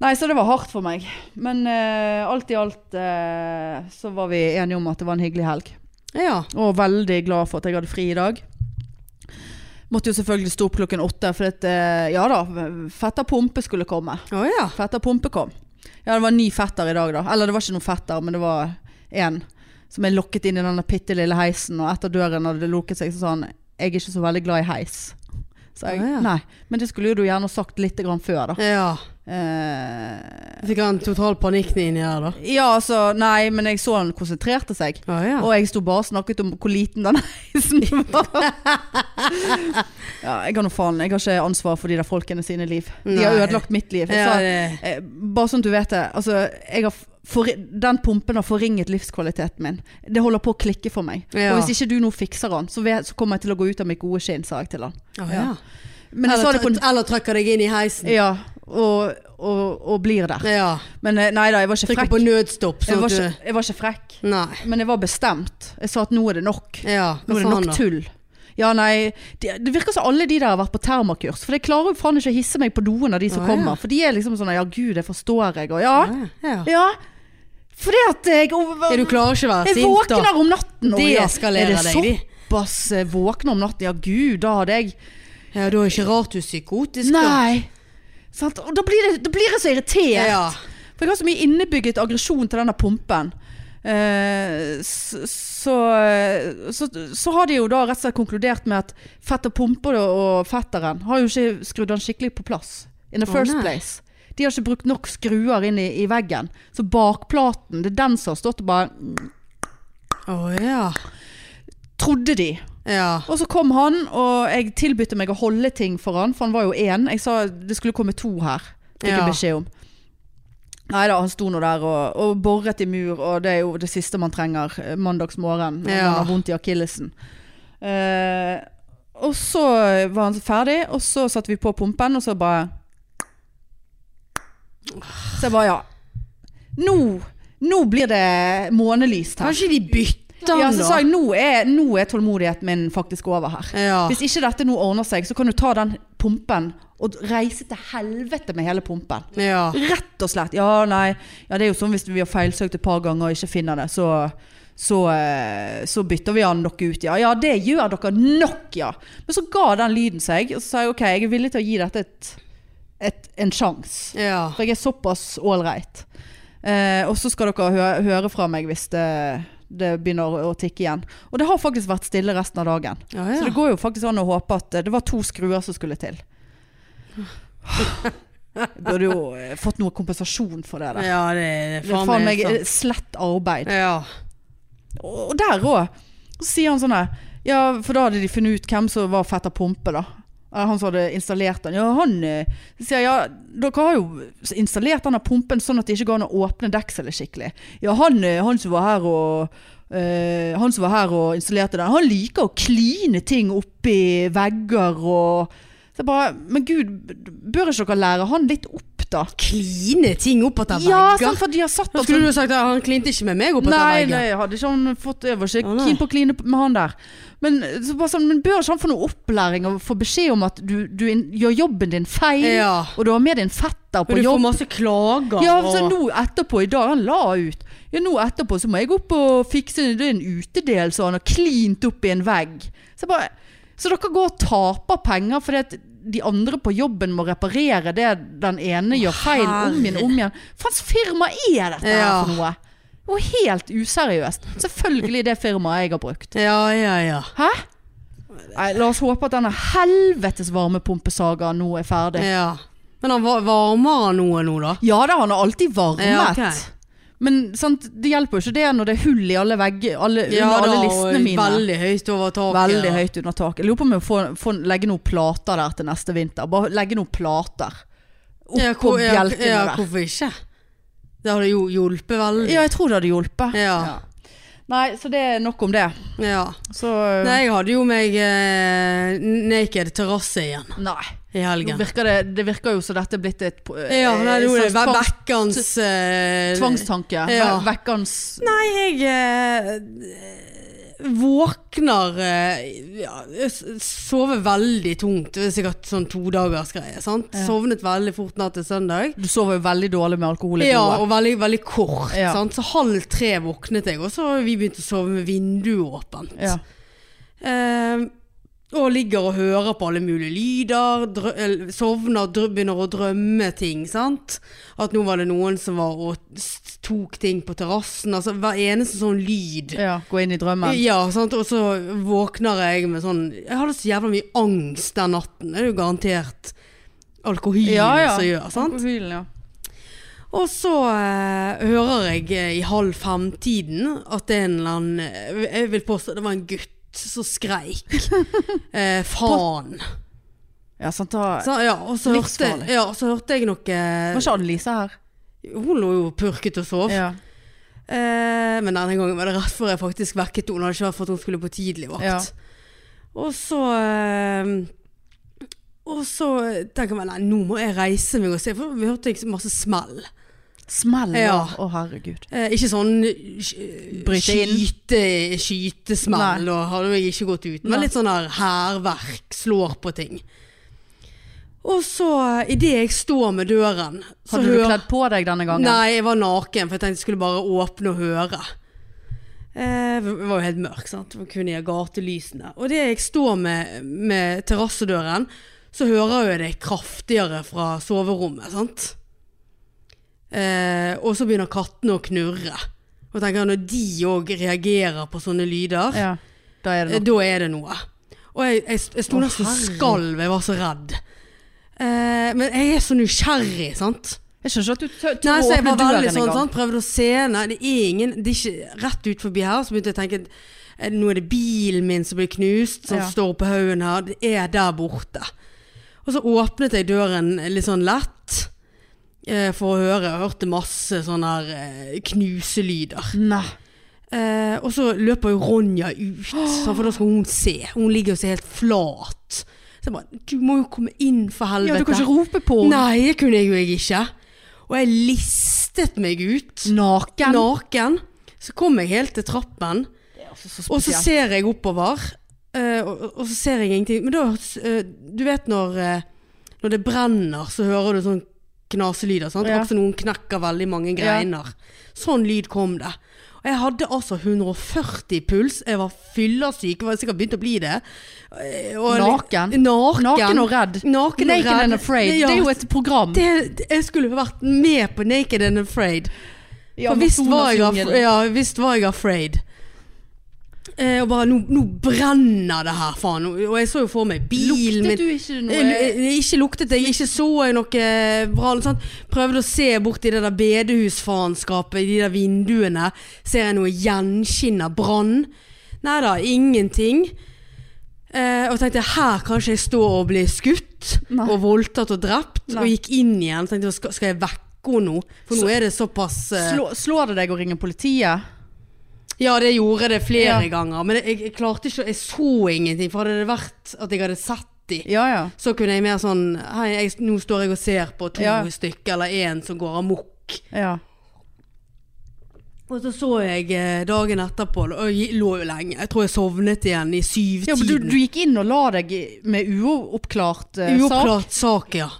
Speaker 2: Nei, så det var hardt for meg. Men eh, alt i alt eh, så var vi enige om at det var en hyggelig helg.
Speaker 1: ja.
Speaker 2: Og veldig glad for at jeg hadde fri i dag. Måtte jo selvfølgelig stå opp klokken åtte, for at, eh, ja da, fetter Pumpe skulle komme.
Speaker 1: Å ja.
Speaker 2: Fetter Pumpe kom. Ja, det var en ny fetter i dag, da. Eller det var ikke noen fetter, men det var én som er lokket inn i den bitte lille heisen, og etter døren hadde det lukket seg, så sa han 'Jeg er ikke så veldig glad i heis'. Så jeg,
Speaker 1: Ah, ja.
Speaker 2: Nei, men det skulle jo du gjerne sagt litt grann før, da.
Speaker 1: Ja.
Speaker 2: Eh,
Speaker 1: Fikk han total panikk inni der, da?
Speaker 2: ja, altså Nei, men jeg så han konsentrerte seg.
Speaker 1: Å ja.
Speaker 2: Og jeg sto bare og snakket om hvor liten den heisen var. ja, jeg har nå faen, jeg har ikke ansvar for de der folkene sine liv. De har
Speaker 1: Nei.
Speaker 2: ødelagt mitt liv.
Speaker 1: ja,
Speaker 2: Så,
Speaker 1: det,
Speaker 2: eh, bare sånn at du vet det. Altså, jeg har for, den pumpen har forringet livskvaliteten min. Det holder på å klikke for meg.
Speaker 1: Ja.
Speaker 2: Og hvis ikke du nå fikser den, så, vet, så kommer jeg til å gå ut av mitt gode skinn, sa jeg til han.
Speaker 1: Å,
Speaker 2: Ja.
Speaker 1: ja.
Speaker 2: Men jeg
Speaker 1: eller,
Speaker 2: sa det på en
Speaker 1: tr- eller trykker deg inn i heisen.
Speaker 2: Ja, og, og, og blir der.
Speaker 1: Ja.
Speaker 2: Men eh, nei da, jeg var ikke
Speaker 1: Trykker
Speaker 2: frekk.
Speaker 1: på nødstopp,
Speaker 2: Jeg
Speaker 1: sånn
Speaker 2: var
Speaker 1: at
Speaker 2: ikke,
Speaker 1: du
Speaker 2: jeg var ikke frekk.
Speaker 1: Nei.
Speaker 2: Men jeg var bestemt. Jeg sa at nå er det nok.
Speaker 1: Ja,
Speaker 2: Nå
Speaker 1: hva
Speaker 2: er
Speaker 1: sa
Speaker 2: det
Speaker 1: han
Speaker 2: nok
Speaker 1: da?
Speaker 2: tull. Ja, nei, det, det virker som alle de der har vært på termakurs. For jeg klarer jo faen ikke å hisse meg på doen av de som
Speaker 1: Å, ja.
Speaker 2: kommer. For de er liksom sånn ja gud, det forstår jeg, og ja.
Speaker 1: Ja.
Speaker 2: Ja. Fordi at jeg
Speaker 1: Ja, du klarer ikke å være
Speaker 2: Jeg
Speaker 1: sint, da.
Speaker 2: våkner om natten. og
Speaker 1: Det
Speaker 2: ja,
Speaker 1: eskalerer
Speaker 2: er
Speaker 1: deg, de.
Speaker 2: Såpass eh, våkner om natten. Ja gud, da hadde jeg
Speaker 1: Ja, da er det ikke rart du er psykotisk. da.
Speaker 2: Nei. Sant? Og da blir, det, da blir jeg så irritert.
Speaker 1: Ja, ja.
Speaker 2: For jeg har så mye innebygget aggresjon til denne pumpen. Eh, så, så, eh, så, så har de jo da rett og slett konkludert med at fetter Pumpe og- og fetteren har jo ikke skrudd den skikkelig på plass. In the
Speaker 1: Å,
Speaker 2: first
Speaker 1: nei.
Speaker 2: place. De har ikke brukt nok skruer inn i, i veggen. Så bakplaten, det er den som har stått og bare
Speaker 1: Å ja.
Speaker 2: Trodde de.
Speaker 1: Ja.
Speaker 2: Og så kom han, og jeg tilbydte meg å holde ting for han, for han var jo én. Jeg sa det skulle komme to her, fikk jeg
Speaker 1: Ja.
Speaker 2: beskjed om. Nei da, han sto nå der og, og boret i mur, og det er jo det siste man trenger eh, mandags morgen når
Speaker 1: Ja.
Speaker 2: man har vondt i akillesen. Eh, og så var han ferdig, og så satte vi på pumpen, og så bare Så jeg bare ja. Nå, nå blir det månelyst her.
Speaker 1: Kanskje de bytter
Speaker 2: Ja,
Speaker 1: den,
Speaker 2: så
Speaker 1: da?
Speaker 2: sa jeg nå er, nå er tålmodigheten min faktisk over her.
Speaker 1: Ja.
Speaker 2: Hvis ikke dette nå ordner seg, så kan du ta den pumpen og reise til helvete med hele pumpen.
Speaker 1: ja.
Speaker 2: Rett og slett. Ja, nei. Ja, det er jo sånn hvis vi har feilsøkt et par ganger og ikke finner det, så, så, eh, så bytter vi han dere ut. Ja, ja, det gjør dere nok, ja. Men så ga den lyden seg, og så sa jeg ok, jeg er villig til å gi dette et, et, en sjanse.
Speaker 1: ja.
Speaker 2: For jeg er såpass ålreit. Eh, og så skal dere hø høre fra meg hvis det, det begynner å tikke igjen. Og det har faktisk vært stille resten av dagen.
Speaker 1: Ah, Ja,
Speaker 2: Så det
Speaker 1: ja.
Speaker 2: går jo faktisk an å håpe at eh, det var to skruer som skulle til. Jeg burde jo eh, fått noe kompensasjon for det der.
Speaker 1: ja, det er
Speaker 2: Det er faen meg eh, slett arbeid.
Speaker 1: Ja.
Speaker 2: Og og der òg. Så sier han sånn her Ja, for da hadde de funnet ut hvem som var fetter Pumpe, da. Eh, Han som hadde installert den. Ja, han eh, sier ja, dere har jo installert denne pumpen sånn at det ikke går an å åpne dekselet skikkelig. Ja, han, eh, han som var her og eh, han som var her og installerte den, han liker å kline ting oppi vegger og Så jeg bare Men gud, bør ikke dere lære han litt opp, da?
Speaker 1: Kline ting opp etter
Speaker 2: Ja,
Speaker 1: vegger.
Speaker 2: sant, for de har satt
Speaker 1: Da
Speaker 2: opp
Speaker 1: skulle du sagt at han klinte ikke med meg opp etter
Speaker 2: Nei,
Speaker 1: vegger.
Speaker 2: nei, hadde ikke han fått Jeg var ikke
Speaker 1: Å, nei.
Speaker 2: keen på å kline med han der. Men, så bare sånn, men bør ikke han få noe opplæring og få beskjed om at du, du in, gjør jobben din feil,
Speaker 1: Ja.
Speaker 2: og du har med din fetter
Speaker 1: Men
Speaker 2: på
Speaker 1: du får
Speaker 2: jobb?
Speaker 1: masse klager.
Speaker 2: Ja,
Speaker 1: og-
Speaker 2: så nå etterpå i dag Han la ut. Ja, nå etterpå så må jeg opp og fikse det er en utedel, så han har klint opp i en vegg. Så, jeg bare, så dere går og taper penger fordi at de andre på jobben må reparere det den ene gjør feil om igjen om igjen. Faens firma er dette her
Speaker 1: Ja.
Speaker 2: for noe? Og helt useriøst. Selvfølgelig det firmaet jeg har brukt.
Speaker 1: Ja, ja, ja.
Speaker 2: Hæ? Nei, la oss håpe at denne helvetes varmepumpesagaen nå er ferdig.
Speaker 1: ja. Men han var varmere noe nå, da?
Speaker 2: Ja da, han har alltid varmet.
Speaker 1: Ja, ok.
Speaker 2: Men sant, det hjelper jo ikke det når det er hull i alle vegger, alle,
Speaker 1: Ja,
Speaker 2: under alle
Speaker 1: da, og
Speaker 2: listene mine. Veldig,
Speaker 1: Veldig høyt over taket. og-
Speaker 2: høyt under taket. Jeg lurer på om jeg får, får legge noen plater der til neste vinter. Bare legge noen plater oppå
Speaker 1: Ja, hvor- ja,
Speaker 2: bjelkene
Speaker 1: ja,
Speaker 2: der.
Speaker 1: Hvorfor ikke? Det hadde jo hjulpet veldig.
Speaker 2: Ja, jeg tror det hadde hjulpet.
Speaker 1: Ja.
Speaker 2: Nei, så det er nok om det.
Speaker 1: Ja.
Speaker 2: Så
Speaker 1: Nei, jeg hadde jo meg eh, naked terrasse igjen
Speaker 2: nei.
Speaker 1: i
Speaker 2: Nå
Speaker 1: helgen.
Speaker 2: virker det, det virker jo som dette er blitt et eh,
Speaker 1: Ja, nei, det
Speaker 2: en
Speaker 1: gjorde det.
Speaker 2: slags
Speaker 1: Hver
Speaker 2: tvang-
Speaker 1: vekkans eh,
Speaker 2: tvangstanke.
Speaker 1: Ja.
Speaker 2: Vekkans
Speaker 1: Nei, jeg eh, våkner eh, ja, jeg s- Sover veldig tungt. Det er sikkert sånn todagersgreie. sant?
Speaker 2: Ja.
Speaker 1: Sovnet veldig fort natt til søndag.
Speaker 2: Du sover jo veldig dårlig med alkohol i
Speaker 1: Ja,
Speaker 2: blodet.
Speaker 1: og veldig, veldig kort.
Speaker 2: Ja.
Speaker 1: Sant? Så halv tre våknet jeg, og så har vi begynt å sove med vinduet åpent.
Speaker 2: Ja.
Speaker 1: Eh, Og ligger og hører på alle mulige lyder, drø eller sovner, drø begynner å drømme ting, sant? At nå var det noen som var og s- tok ting på terrassen, altså hver eneste sånn lyd.
Speaker 2: Ja, gå inn i drømmen.
Speaker 1: Ja, sant? og så våkner jeg med sånn Jeg hadde så jævla mye angst den natten. Det er jo garantert alkoholen som gjør, sant?
Speaker 2: Profilen, ja.
Speaker 1: Og så eh, hører jeg eh, i halv fem-tiden at det er en eller annen eh, Jeg vil påstå det var en gutt som skreik. Eh, faen.
Speaker 2: Ja, sant da.
Speaker 1: Så, ja, og så hørte,
Speaker 2: Livsfarlig.
Speaker 1: ja, så hørte jeg noe
Speaker 2: Var ikke Annelise her?
Speaker 1: Hun lå jo purket og sov.
Speaker 2: Ja.
Speaker 1: Eh, men denne gangen var det rett før jeg faktisk vekket henne. Hadde ikke vært for at hun skulle på tidlig vakt.
Speaker 2: Ja.
Speaker 1: Og så eh, Og så tenker jeg nei, nå må jeg reise meg og se, for vi hørte ikke masse smell.
Speaker 2: Smell, ja.
Speaker 1: Ja.
Speaker 2: Å, herregud.
Speaker 1: Eh, ikke sånn sk-
Speaker 2: Bryte inn.
Speaker 1: skyte, skytesmell, og hadde jeg ikke gått ut.
Speaker 2: Nei.
Speaker 1: Men litt sånn her hærverk, slår på ting. Og så, eh, idet jeg står med døren så
Speaker 2: Hadde du
Speaker 1: hører-
Speaker 2: kledd på deg denne gangen?
Speaker 1: Nei, jeg var naken, for jeg tenkte jeg skulle bare åpne og høre. Eh, Det var jo helt mørkt, sant. Det var kun i gatelysene. Og det jeg står med, med terrassedøren, så hører jeg det kraftigere fra soverommet, sant. Eh, og så begynner kattene å knurre. Og tenker når de òg reagerer på sånne lyder,
Speaker 2: Ja. Da er det
Speaker 1: eh,
Speaker 2: nok.
Speaker 1: da er det noe. Og jeg, jeg, jeg sto
Speaker 2: Å,
Speaker 1: nesten og
Speaker 2: herre.
Speaker 1: skalv, jeg var så redd. Eh, men jeg er så nysgjerrig, sant.
Speaker 2: Jeg skjønner ikke at du tør tør
Speaker 1: Nei,
Speaker 2: å
Speaker 1: så jeg
Speaker 2: åpne
Speaker 1: var
Speaker 2: døren
Speaker 1: veldig
Speaker 2: engang.
Speaker 1: sånn, sånn, prøvde å se Nei, det er ingen Det er ikke rett ut forbi her Så begynte jeg å tenke eh, Nå er det bilen min som blir knust Som
Speaker 2: Ja.
Speaker 1: står på haugen her Det er der borte Og så åpnet jeg døren litt sånn lett eh, For å høre Jeg hørte masse sånne her eh, knuselyder
Speaker 2: Nei.
Speaker 1: eh, Og så løper jo Ronja ut sånn, For da skal hun se Hun ligger jo så helt flat Så jeg bare Du må jo komme inn for
Speaker 2: Ja,
Speaker 1: helvete
Speaker 2: du kan ikke rope på henne.
Speaker 1: Nei, det kunne jeg jo ikke. Og jeg listet meg ut,
Speaker 2: Naken.
Speaker 1: naken. Så kom jeg helt til trappen,
Speaker 2: Det er altså så
Speaker 1: og så
Speaker 2: spesielt.
Speaker 1: ser jeg oppover. eh, og, og så ser jeg ingenting. Men da eh, Du vet når, eh, når det brenner, så hører du sånn knaselyder. Sant?
Speaker 2: Ja.
Speaker 1: Akkurat som noen knekker veldig mange
Speaker 2: Ja.
Speaker 1: greiner. Sånn lyd kom det. Og jeg hadde altså 140 i puls. Jeg var fyllesyk. Jeg var sikkert begynt å bli det. Eh, og-
Speaker 2: Naken.
Speaker 1: Naken.
Speaker 2: Naken og redd.
Speaker 1: Naken og
Speaker 2: Naked
Speaker 1: redd.
Speaker 2: and afraid.
Speaker 1: Ja,
Speaker 2: Det er jo et program.
Speaker 1: det, det- jeg skulle vært med på Naked and Afraid. For visst var jeg, af
Speaker 2: ja.
Speaker 1: ja, visst var jeg afraid. Eh, og bare nå, nå brenner det her, faen. Og og jeg så jo for meg bilen
Speaker 2: Luktet
Speaker 1: min.
Speaker 2: du ikke
Speaker 1: Eh,
Speaker 2: noe?
Speaker 1: lu- eh, Ikke luktet jeg, ikke så jeg noe eh, bra. eller sånt. Prøvde å se bort i det der bedehusfaenskapet, i de der vinduene. Ser jeg noe gjenskinn av brann? Nei da, ingenting. Eh, og tenkte her kan ikke jeg stå og bli skutt
Speaker 2: Nei.
Speaker 1: og voldtatt og drept.
Speaker 2: Nei.
Speaker 1: Og gikk inn igjen. Tenkte skal, skal jeg vekke henne nå? For
Speaker 2: Så-
Speaker 1: nå er det såpass eh,
Speaker 2: Slå, slår det deg å ringe politiet?
Speaker 1: Ja, det gjorde det flere
Speaker 2: Ja.
Speaker 1: ganger. Men jeg, jeg klarte ikke Jeg så ingenting. For hadde det vært at jeg hadde sett de
Speaker 2: Ja, ja.
Speaker 1: så kunne jeg mer sånn Hei, jeg, nå står jeg og ser på to
Speaker 2: Ja.
Speaker 1: stykker eller én som går amok.
Speaker 2: ja.
Speaker 1: Og så så jeg eh, dagen etterpå, og jeg lå jo lenge. Jeg tror jeg sovnet igjen i
Speaker 2: ja men du,
Speaker 1: syvtiden.
Speaker 2: du gikk inn og la deg i- med uoppklart eh, sak?
Speaker 1: Uoppklart sak, ja.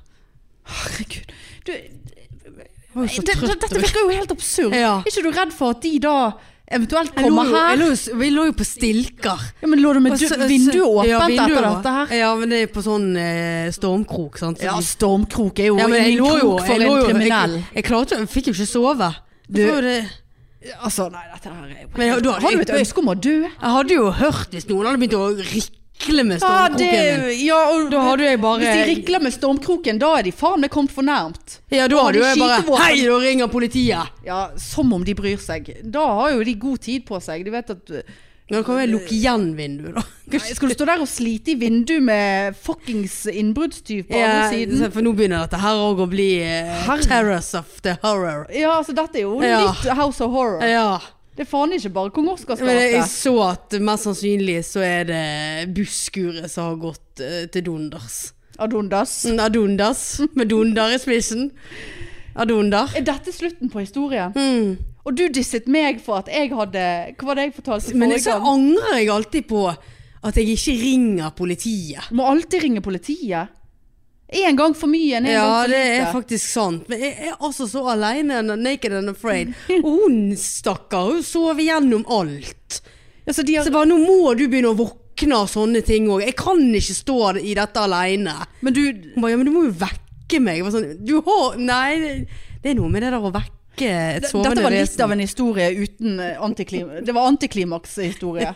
Speaker 2: Herregud. Du,
Speaker 1: Jeg var jo
Speaker 2: det,
Speaker 1: så
Speaker 2: det,
Speaker 1: trøtt.
Speaker 2: dette virker jo helt absurd.
Speaker 1: Ja.
Speaker 2: Er ikke du redd for at de da eventuelt
Speaker 1: Jeg lå
Speaker 2: kommer
Speaker 1: jo- jeg
Speaker 2: her?
Speaker 1: lå jo s- Vi lå jo på stilker.
Speaker 2: Ja, men lå du med
Speaker 1: Og
Speaker 2: du,
Speaker 1: så- så-
Speaker 2: vinduet åpent
Speaker 1: ja, vinduet
Speaker 2: etter
Speaker 1: var-
Speaker 2: dette her?
Speaker 1: Ja, men det er på sånn eh, stormkrok, sant. Så
Speaker 2: Ja,
Speaker 1: de-
Speaker 2: stormkrok er jo
Speaker 1: ja, men jeg
Speaker 2: ingen
Speaker 1: lå jo
Speaker 2: krok for
Speaker 1: jeg lå
Speaker 2: en
Speaker 1: jo-
Speaker 2: kriminell.
Speaker 1: Jeg, jeg klarte jo Jeg fikk jo ikke sove.
Speaker 2: Du-
Speaker 1: Det var jo det-
Speaker 2: altså, nei, dette her er jo
Speaker 1: Men jeg- da-
Speaker 2: Har du et
Speaker 1: jeg-
Speaker 2: ønske om å dø?
Speaker 1: Jeg hadde jo hørt hvis noen hadde begynt å rikle med stormkroken min.
Speaker 2: ja, og,
Speaker 1: Da hadde jeg bare
Speaker 2: Hvis de rikler med stormkroken, da er de faen meg kommet for nærmt.
Speaker 1: Ja, da
Speaker 2: Og
Speaker 1: hadde jo
Speaker 2: hadde
Speaker 1: jeg bare
Speaker 2: skytevåpen.
Speaker 1: Hei, da ringer politiet!
Speaker 2: Ja, som om de bryr seg. Da har jo de god tid på seg. De vet at Nei,
Speaker 1: Ja, da kan jeg lukke igjen vinduet, da.
Speaker 2: Skal du stå der og slite i vinduet med fuckings innbruddstyv på
Speaker 1: Ja, Mm.
Speaker 2: andre siden?
Speaker 1: for nå begynner dette her òg å bli eh,
Speaker 2: Herre.
Speaker 1: Terrace of the horror.
Speaker 2: Ja, altså dette er jo
Speaker 1: Ja.
Speaker 2: nytt House of Horror.
Speaker 1: Ja.
Speaker 2: Det er faen ikke bare Kong Oscars
Speaker 1: Men jeg
Speaker 2: gate.
Speaker 1: så at mest sannsynlig så er det busskuret som har gått eh, til dunders.
Speaker 2: Adondas.
Speaker 1: Mm, Adundas, med dunder i spissen. Adunder.
Speaker 2: Er dette slutten på historien?
Speaker 1: Mm.
Speaker 2: Og du disset meg for at jeg hadde Hva var det jeg fortalte
Speaker 1: Men
Speaker 2: forrige
Speaker 1: så
Speaker 2: gang?
Speaker 1: angrer jeg alltid på at jeg ikke ringer politiet.
Speaker 2: Må alltid ringe politiet. Én gang for mye enn én gang
Speaker 1: Ja,
Speaker 2: for
Speaker 1: det
Speaker 2: lite.
Speaker 1: er faktisk sant. Men jeg er altså så alene, and naked and afraid. Og hun, stakkar, hun sov igjennom alt.
Speaker 2: altså, de
Speaker 1: Så
Speaker 2: har
Speaker 1: jeg bare, nå må du begynne å våkne. våkner av sånne ting òg. Jeg kan ikke stå i dette aleine.
Speaker 2: Men du
Speaker 1: Hun bare ja, men du må jo vekke meg. Jeg var sånn, du har Nei, det- det er noe med det der å vekke et
Speaker 2: d-
Speaker 1: sovende
Speaker 2: Dette var litt
Speaker 1: vesen.
Speaker 2: av en historie uten eh, antiklim... Det var antiklimakshistorie.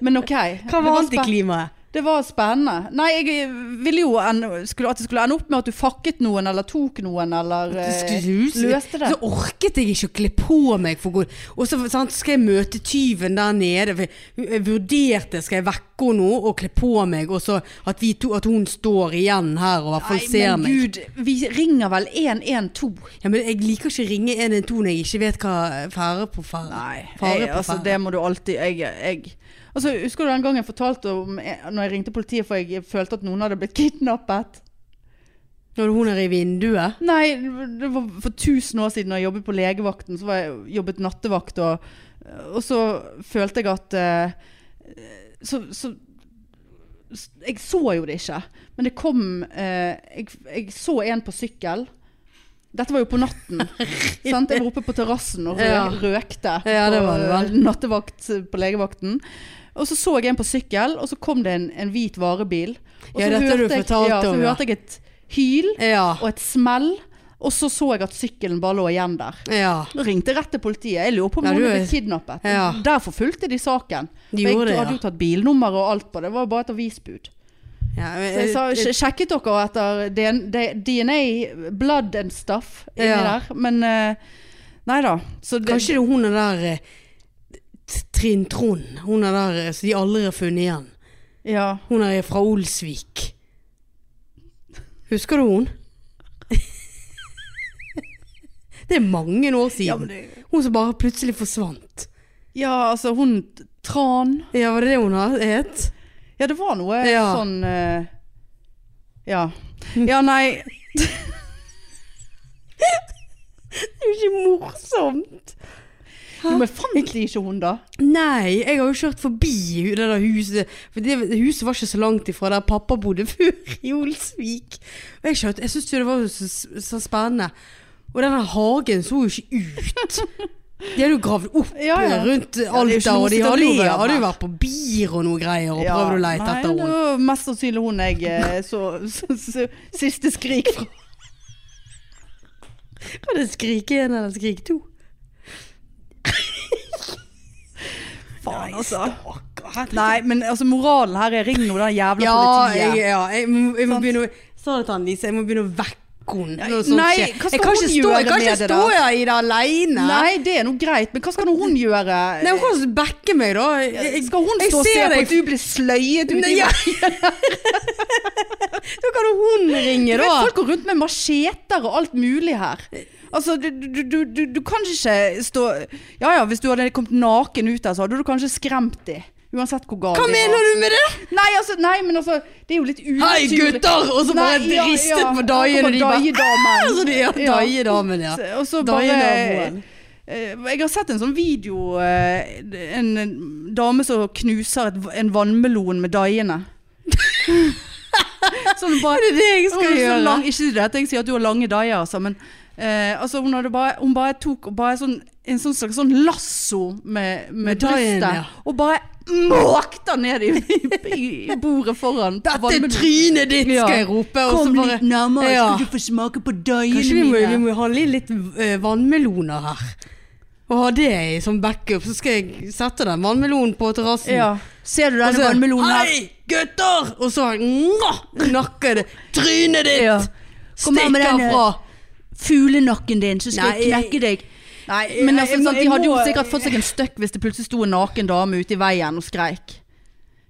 Speaker 2: Men OK.
Speaker 1: Hva
Speaker 2: det
Speaker 1: var
Speaker 2: spe-
Speaker 1: antiklimaet?
Speaker 2: Det var spennende. Nei, jeg eh, ville jo en, skulle, at det skulle ende opp med at du fakket noen, eller tok noen, eller eh, løste det.
Speaker 1: Så orket jeg ikke å kle på meg for god Og så sant, skal jeg møte tyven der nede. For jeg vurderte skal jeg vekke henne nå og kle på meg, og så at, vi to, at hun står igjen her og i hvert fall
Speaker 2: Nei,
Speaker 1: ser
Speaker 2: men
Speaker 1: meg.
Speaker 2: gud, vi ringer vel 112?
Speaker 1: Ja, men jeg liker ikke å ringe 112 når jeg ikke vet hva fære på fære. fare
Speaker 2: jeg,
Speaker 1: på
Speaker 2: altså,
Speaker 1: fære.
Speaker 2: det må du alltid jeg, jeg. Altså, Husker du den gangen jeg fortalte om eh, når jeg ringte politiet for jeg følte at noen hadde blitt kidnappet?
Speaker 1: Når hun er i vinduet.
Speaker 2: Nei, det var for tusen år siden da jeg jobbet på legevakten. Så var jeg jobbet nattevakt, og, og så følte jeg at eh, så, så s- Jeg så jo det ikke, men det kom eh, jeg, jeg så en på sykkel. Dette var jo på natten. sant? Jeg var oppe på terrassen og rø
Speaker 1: Ja.
Speaker 2: røkte
Speaker 1: Ja, det
Speaker 2: på,
Speaker 1: var det vel.
Speaker 2: eh, nattevakt på legevakten. Og så så jeg en på sykkel, og så kom det en, en hvit varebil. Og
Speaker 1: Ja,
Speaker 2: så
Speaker 1: dette har du
Speaker 2: hørte jeg-
Speaker 1: fortalt
Speaker 2: ja, så
Speaker 1: om, ja.
Speaker 2: hørte jeg et hyl
Speaker 1: Ja.
Speaker 2: og et smell. Og så så jeg at sykkelen bare lå igjen der.
Speaker 1: ja.
Speaker 2: Da ringte jeg rett til politiet. Jeg lurer på om
Speaker 1: Ja,
Speaker 2: noen
Speaker 1: du er-
Speaker 2: ble kidnappet.
Speaker 1: Ja.
Speaker 2: Derfor fulgte de saken.
Speaker 1: De
Speaker 2: For
Speaker 1: gjorde det,
Speaker 2: jeg
Speaker 1: ja.
Speaker 2: hadde jo tatt bilnummer og alt på det. Det var bare et avisbud.
Speaker 1: ja.
Speaker 2: Så jeg
Speaker 1: eh,
Speaker 2: sa "Sj- sjekket dere etter DN- D- DNA, blood and stuff inni
Speaker 1: Ja.
Speaker 2: der. Men eh, nei da. Så det,
Speaker 1: Kanskje det er hun er der eh, T- Trinn Trond. Hun er der eh, som de aldri har funnet igjen.
Speaker 2: ja.
Speaker 1: Hun er fra Olsvik. Husker du hun? det er mange år
Speaker 2: Ja,
Speaker 1: siden.
Speaker 2: men det,
Speaker 1: Hun som bare plutselig forsvant.
Speaker 2: ja, altså hun Tran.
Speaker 1: Ja, var det det hun har- het?
Speaker 2: Ja, det var noe
Speaker 1: Ja.
Speaker 2: sånn eh, Ja. Ja, nei.
Speaker 1: Det er jo ikke morsomt.
Speaker 2: Jo, men fant de ikke hun, da?
Speaker 1: Nei, jeg har jo kjørt forbi hu- det der huset. For det huset var ikke så langt ifra der pappa bodde før, i Olsvik. Og jeg, kjørte- jeg syntes jo det var så, så spennende. Og den der hagen så jo ikke ut. De hadde jo gravd opp
Speaker 2: Ja, ja.
Speaker 1: rundt
Speaker 2: er jo ikke noe
Speaker 1: Alta, og de
Speaker 2: som
Speaker 1: hadde jo,
Speaker 2: lever
Speaker 1: vært- hadde jo
Speaker 2: her.
Speaker 1: vært på bier og noe greier og
Speaker 2: Ja,
Speaker 1: prøvd å lete
Speaker 2: nei,
Speaker 1: etter
Speaker 2: det
Speaker 1: henne.
Speaker 2: var Mest sannsynlig hun jeg eh, så, så, så siste skrik fra.
Speaker 1: Var det Skrik 1 eller Skrik 2?
Speaker 2: Faen, altså. Nei, men altså, moralen her er ring nå den jævla
Speaker 1: Ja, jeg,
Speaker 2: politiet.
Speaker 1: ja, jeg, må- jeg må
Speaker 2: Sant.
Speaker 1: begynne å Sa det til Annelise, jeg må begynne å vekke henne når sånt
Speaker 2: Nei,
Speaker 1: skjer.
Speaker 2: hva skal
Speaker 1: Jeg kan
Speaker 2: hun
Speaker 1: ikke stå,
Speaker 2: gjøre
Speaker 1: jeg kan
Speaker 2: med
Speaker 1: ikke
Speaker 2: det
Speaker 1: stå
Speaker 2: da?
Speaker 1: her i det aleine.
Speaker 2: Nei, det er nå greit, men hva skal nå hun gjøre? Eh,
Speaker 1: Nei, hun kan ikke backe meg, da. Jeg, jeg-
Speaker 2: skal hun
Speaker 1: jeg
Speaker 2: stå og se
Speaker 1: ser
Speaker 2: på
Speaker 1: deg-
Speaker 2: at du blir sløyet ut
Speaker 1: Nei,
Speaker 2: i
Speaker 1: ja. Da kan jo hun
Speaker 2: Du
Speaker 1: ringe,
Speaker 2: vet,
Speaker 1: da.
Speaker 2: folk går rundt med macheter og alt mulig her. Altså, du, du, du, du, du kan ikke stå Ja ja, hvis du hadde kommet naken ut der, så hadde du kanskje skremt de. Uansett hvor gal
Speaker 1: Hva
Speaker 2: de
Speaker 1: mener du med det?
Speaker 2: Nei, altså, nei, men altså, det er jo litt unaturlig.
Speaker 1: Hei, gutter! Og så bare
Speaker 2: Nei, ja,
Speaker 1: ristet
Speaker 2: ja.
Speaker 1: på daien, og de bare
Speaker 2: Daiedamen.
Speaker 1: «Æ!» Så Altså, de ja,
Speaker 2: Ja.
Speaker 1: daiedamen, ja.
Speaker 2: Så- Og så bare
Speaker 1: Daiedamen.
Speaker 2: Eh, Jeg har sett en sånn video eh, En en dame som knuser et, en vannmelon med daiene. sånn bare
Speaker 1: Er det det jeg
Speaker 2: hun
Speaker 1: skal
Speaker 2: er så
Speaker 1: gjøre?
Speaker 2: lang- Ikke det at jeg sier at du har lange daier, altså, men eh, altså, hun, hadde bare, hun bare tok og bare sånn, en sånn slags sånn lasso med, med,
Speaker 1: Med daien,
Speaker 2: brystet,
Speaker 1: ja.
Speaker 2: og bare måkte den ned i, i, i bordet foran.
Speaker 1: Dette er
Speaker 2: Vannmelon.
Speaker 1: trynet ditt,
Speaker 2: Ja.
Speaker 1: skal jeg rope. Og så bare
Speaker 2: nærmere,
Speaker 1: Ja.
Speaker 2: du få smake på daiene
Speaker 1: Kanskje vi må, vi må ha litt eh, vannmeloner her. Og ha det i som backup. Så skal jeg sette den vannmelonen på terrassen.
Speaker 2: Ja. Ser du
Speaker 1: Og
Speaker 2: denne
Speaker 1: så,
Speaker 2: vannmelonen her?
Speaker 1: Altså, Hei, gutter! Og så mwah, nakker det. Trynet ditt!
Speaker 2: Ja. Kom her med
Speaker 1: Stikk
Speaker 2: den, eh,
Speaker 1: herfra!
Speaker 2: Fuglenakken din, så skal jeg
Speaker 1: Nei,
Speaker 2: knekke deg.
Speaker 1: Nei,
Speaker 2: Men altså, sant, de hadde jo sikkert
Speaker 1: fått
Speaker 2: fått seg en støkk hvis det plutselig sto en naken dame ute i veien og skreik.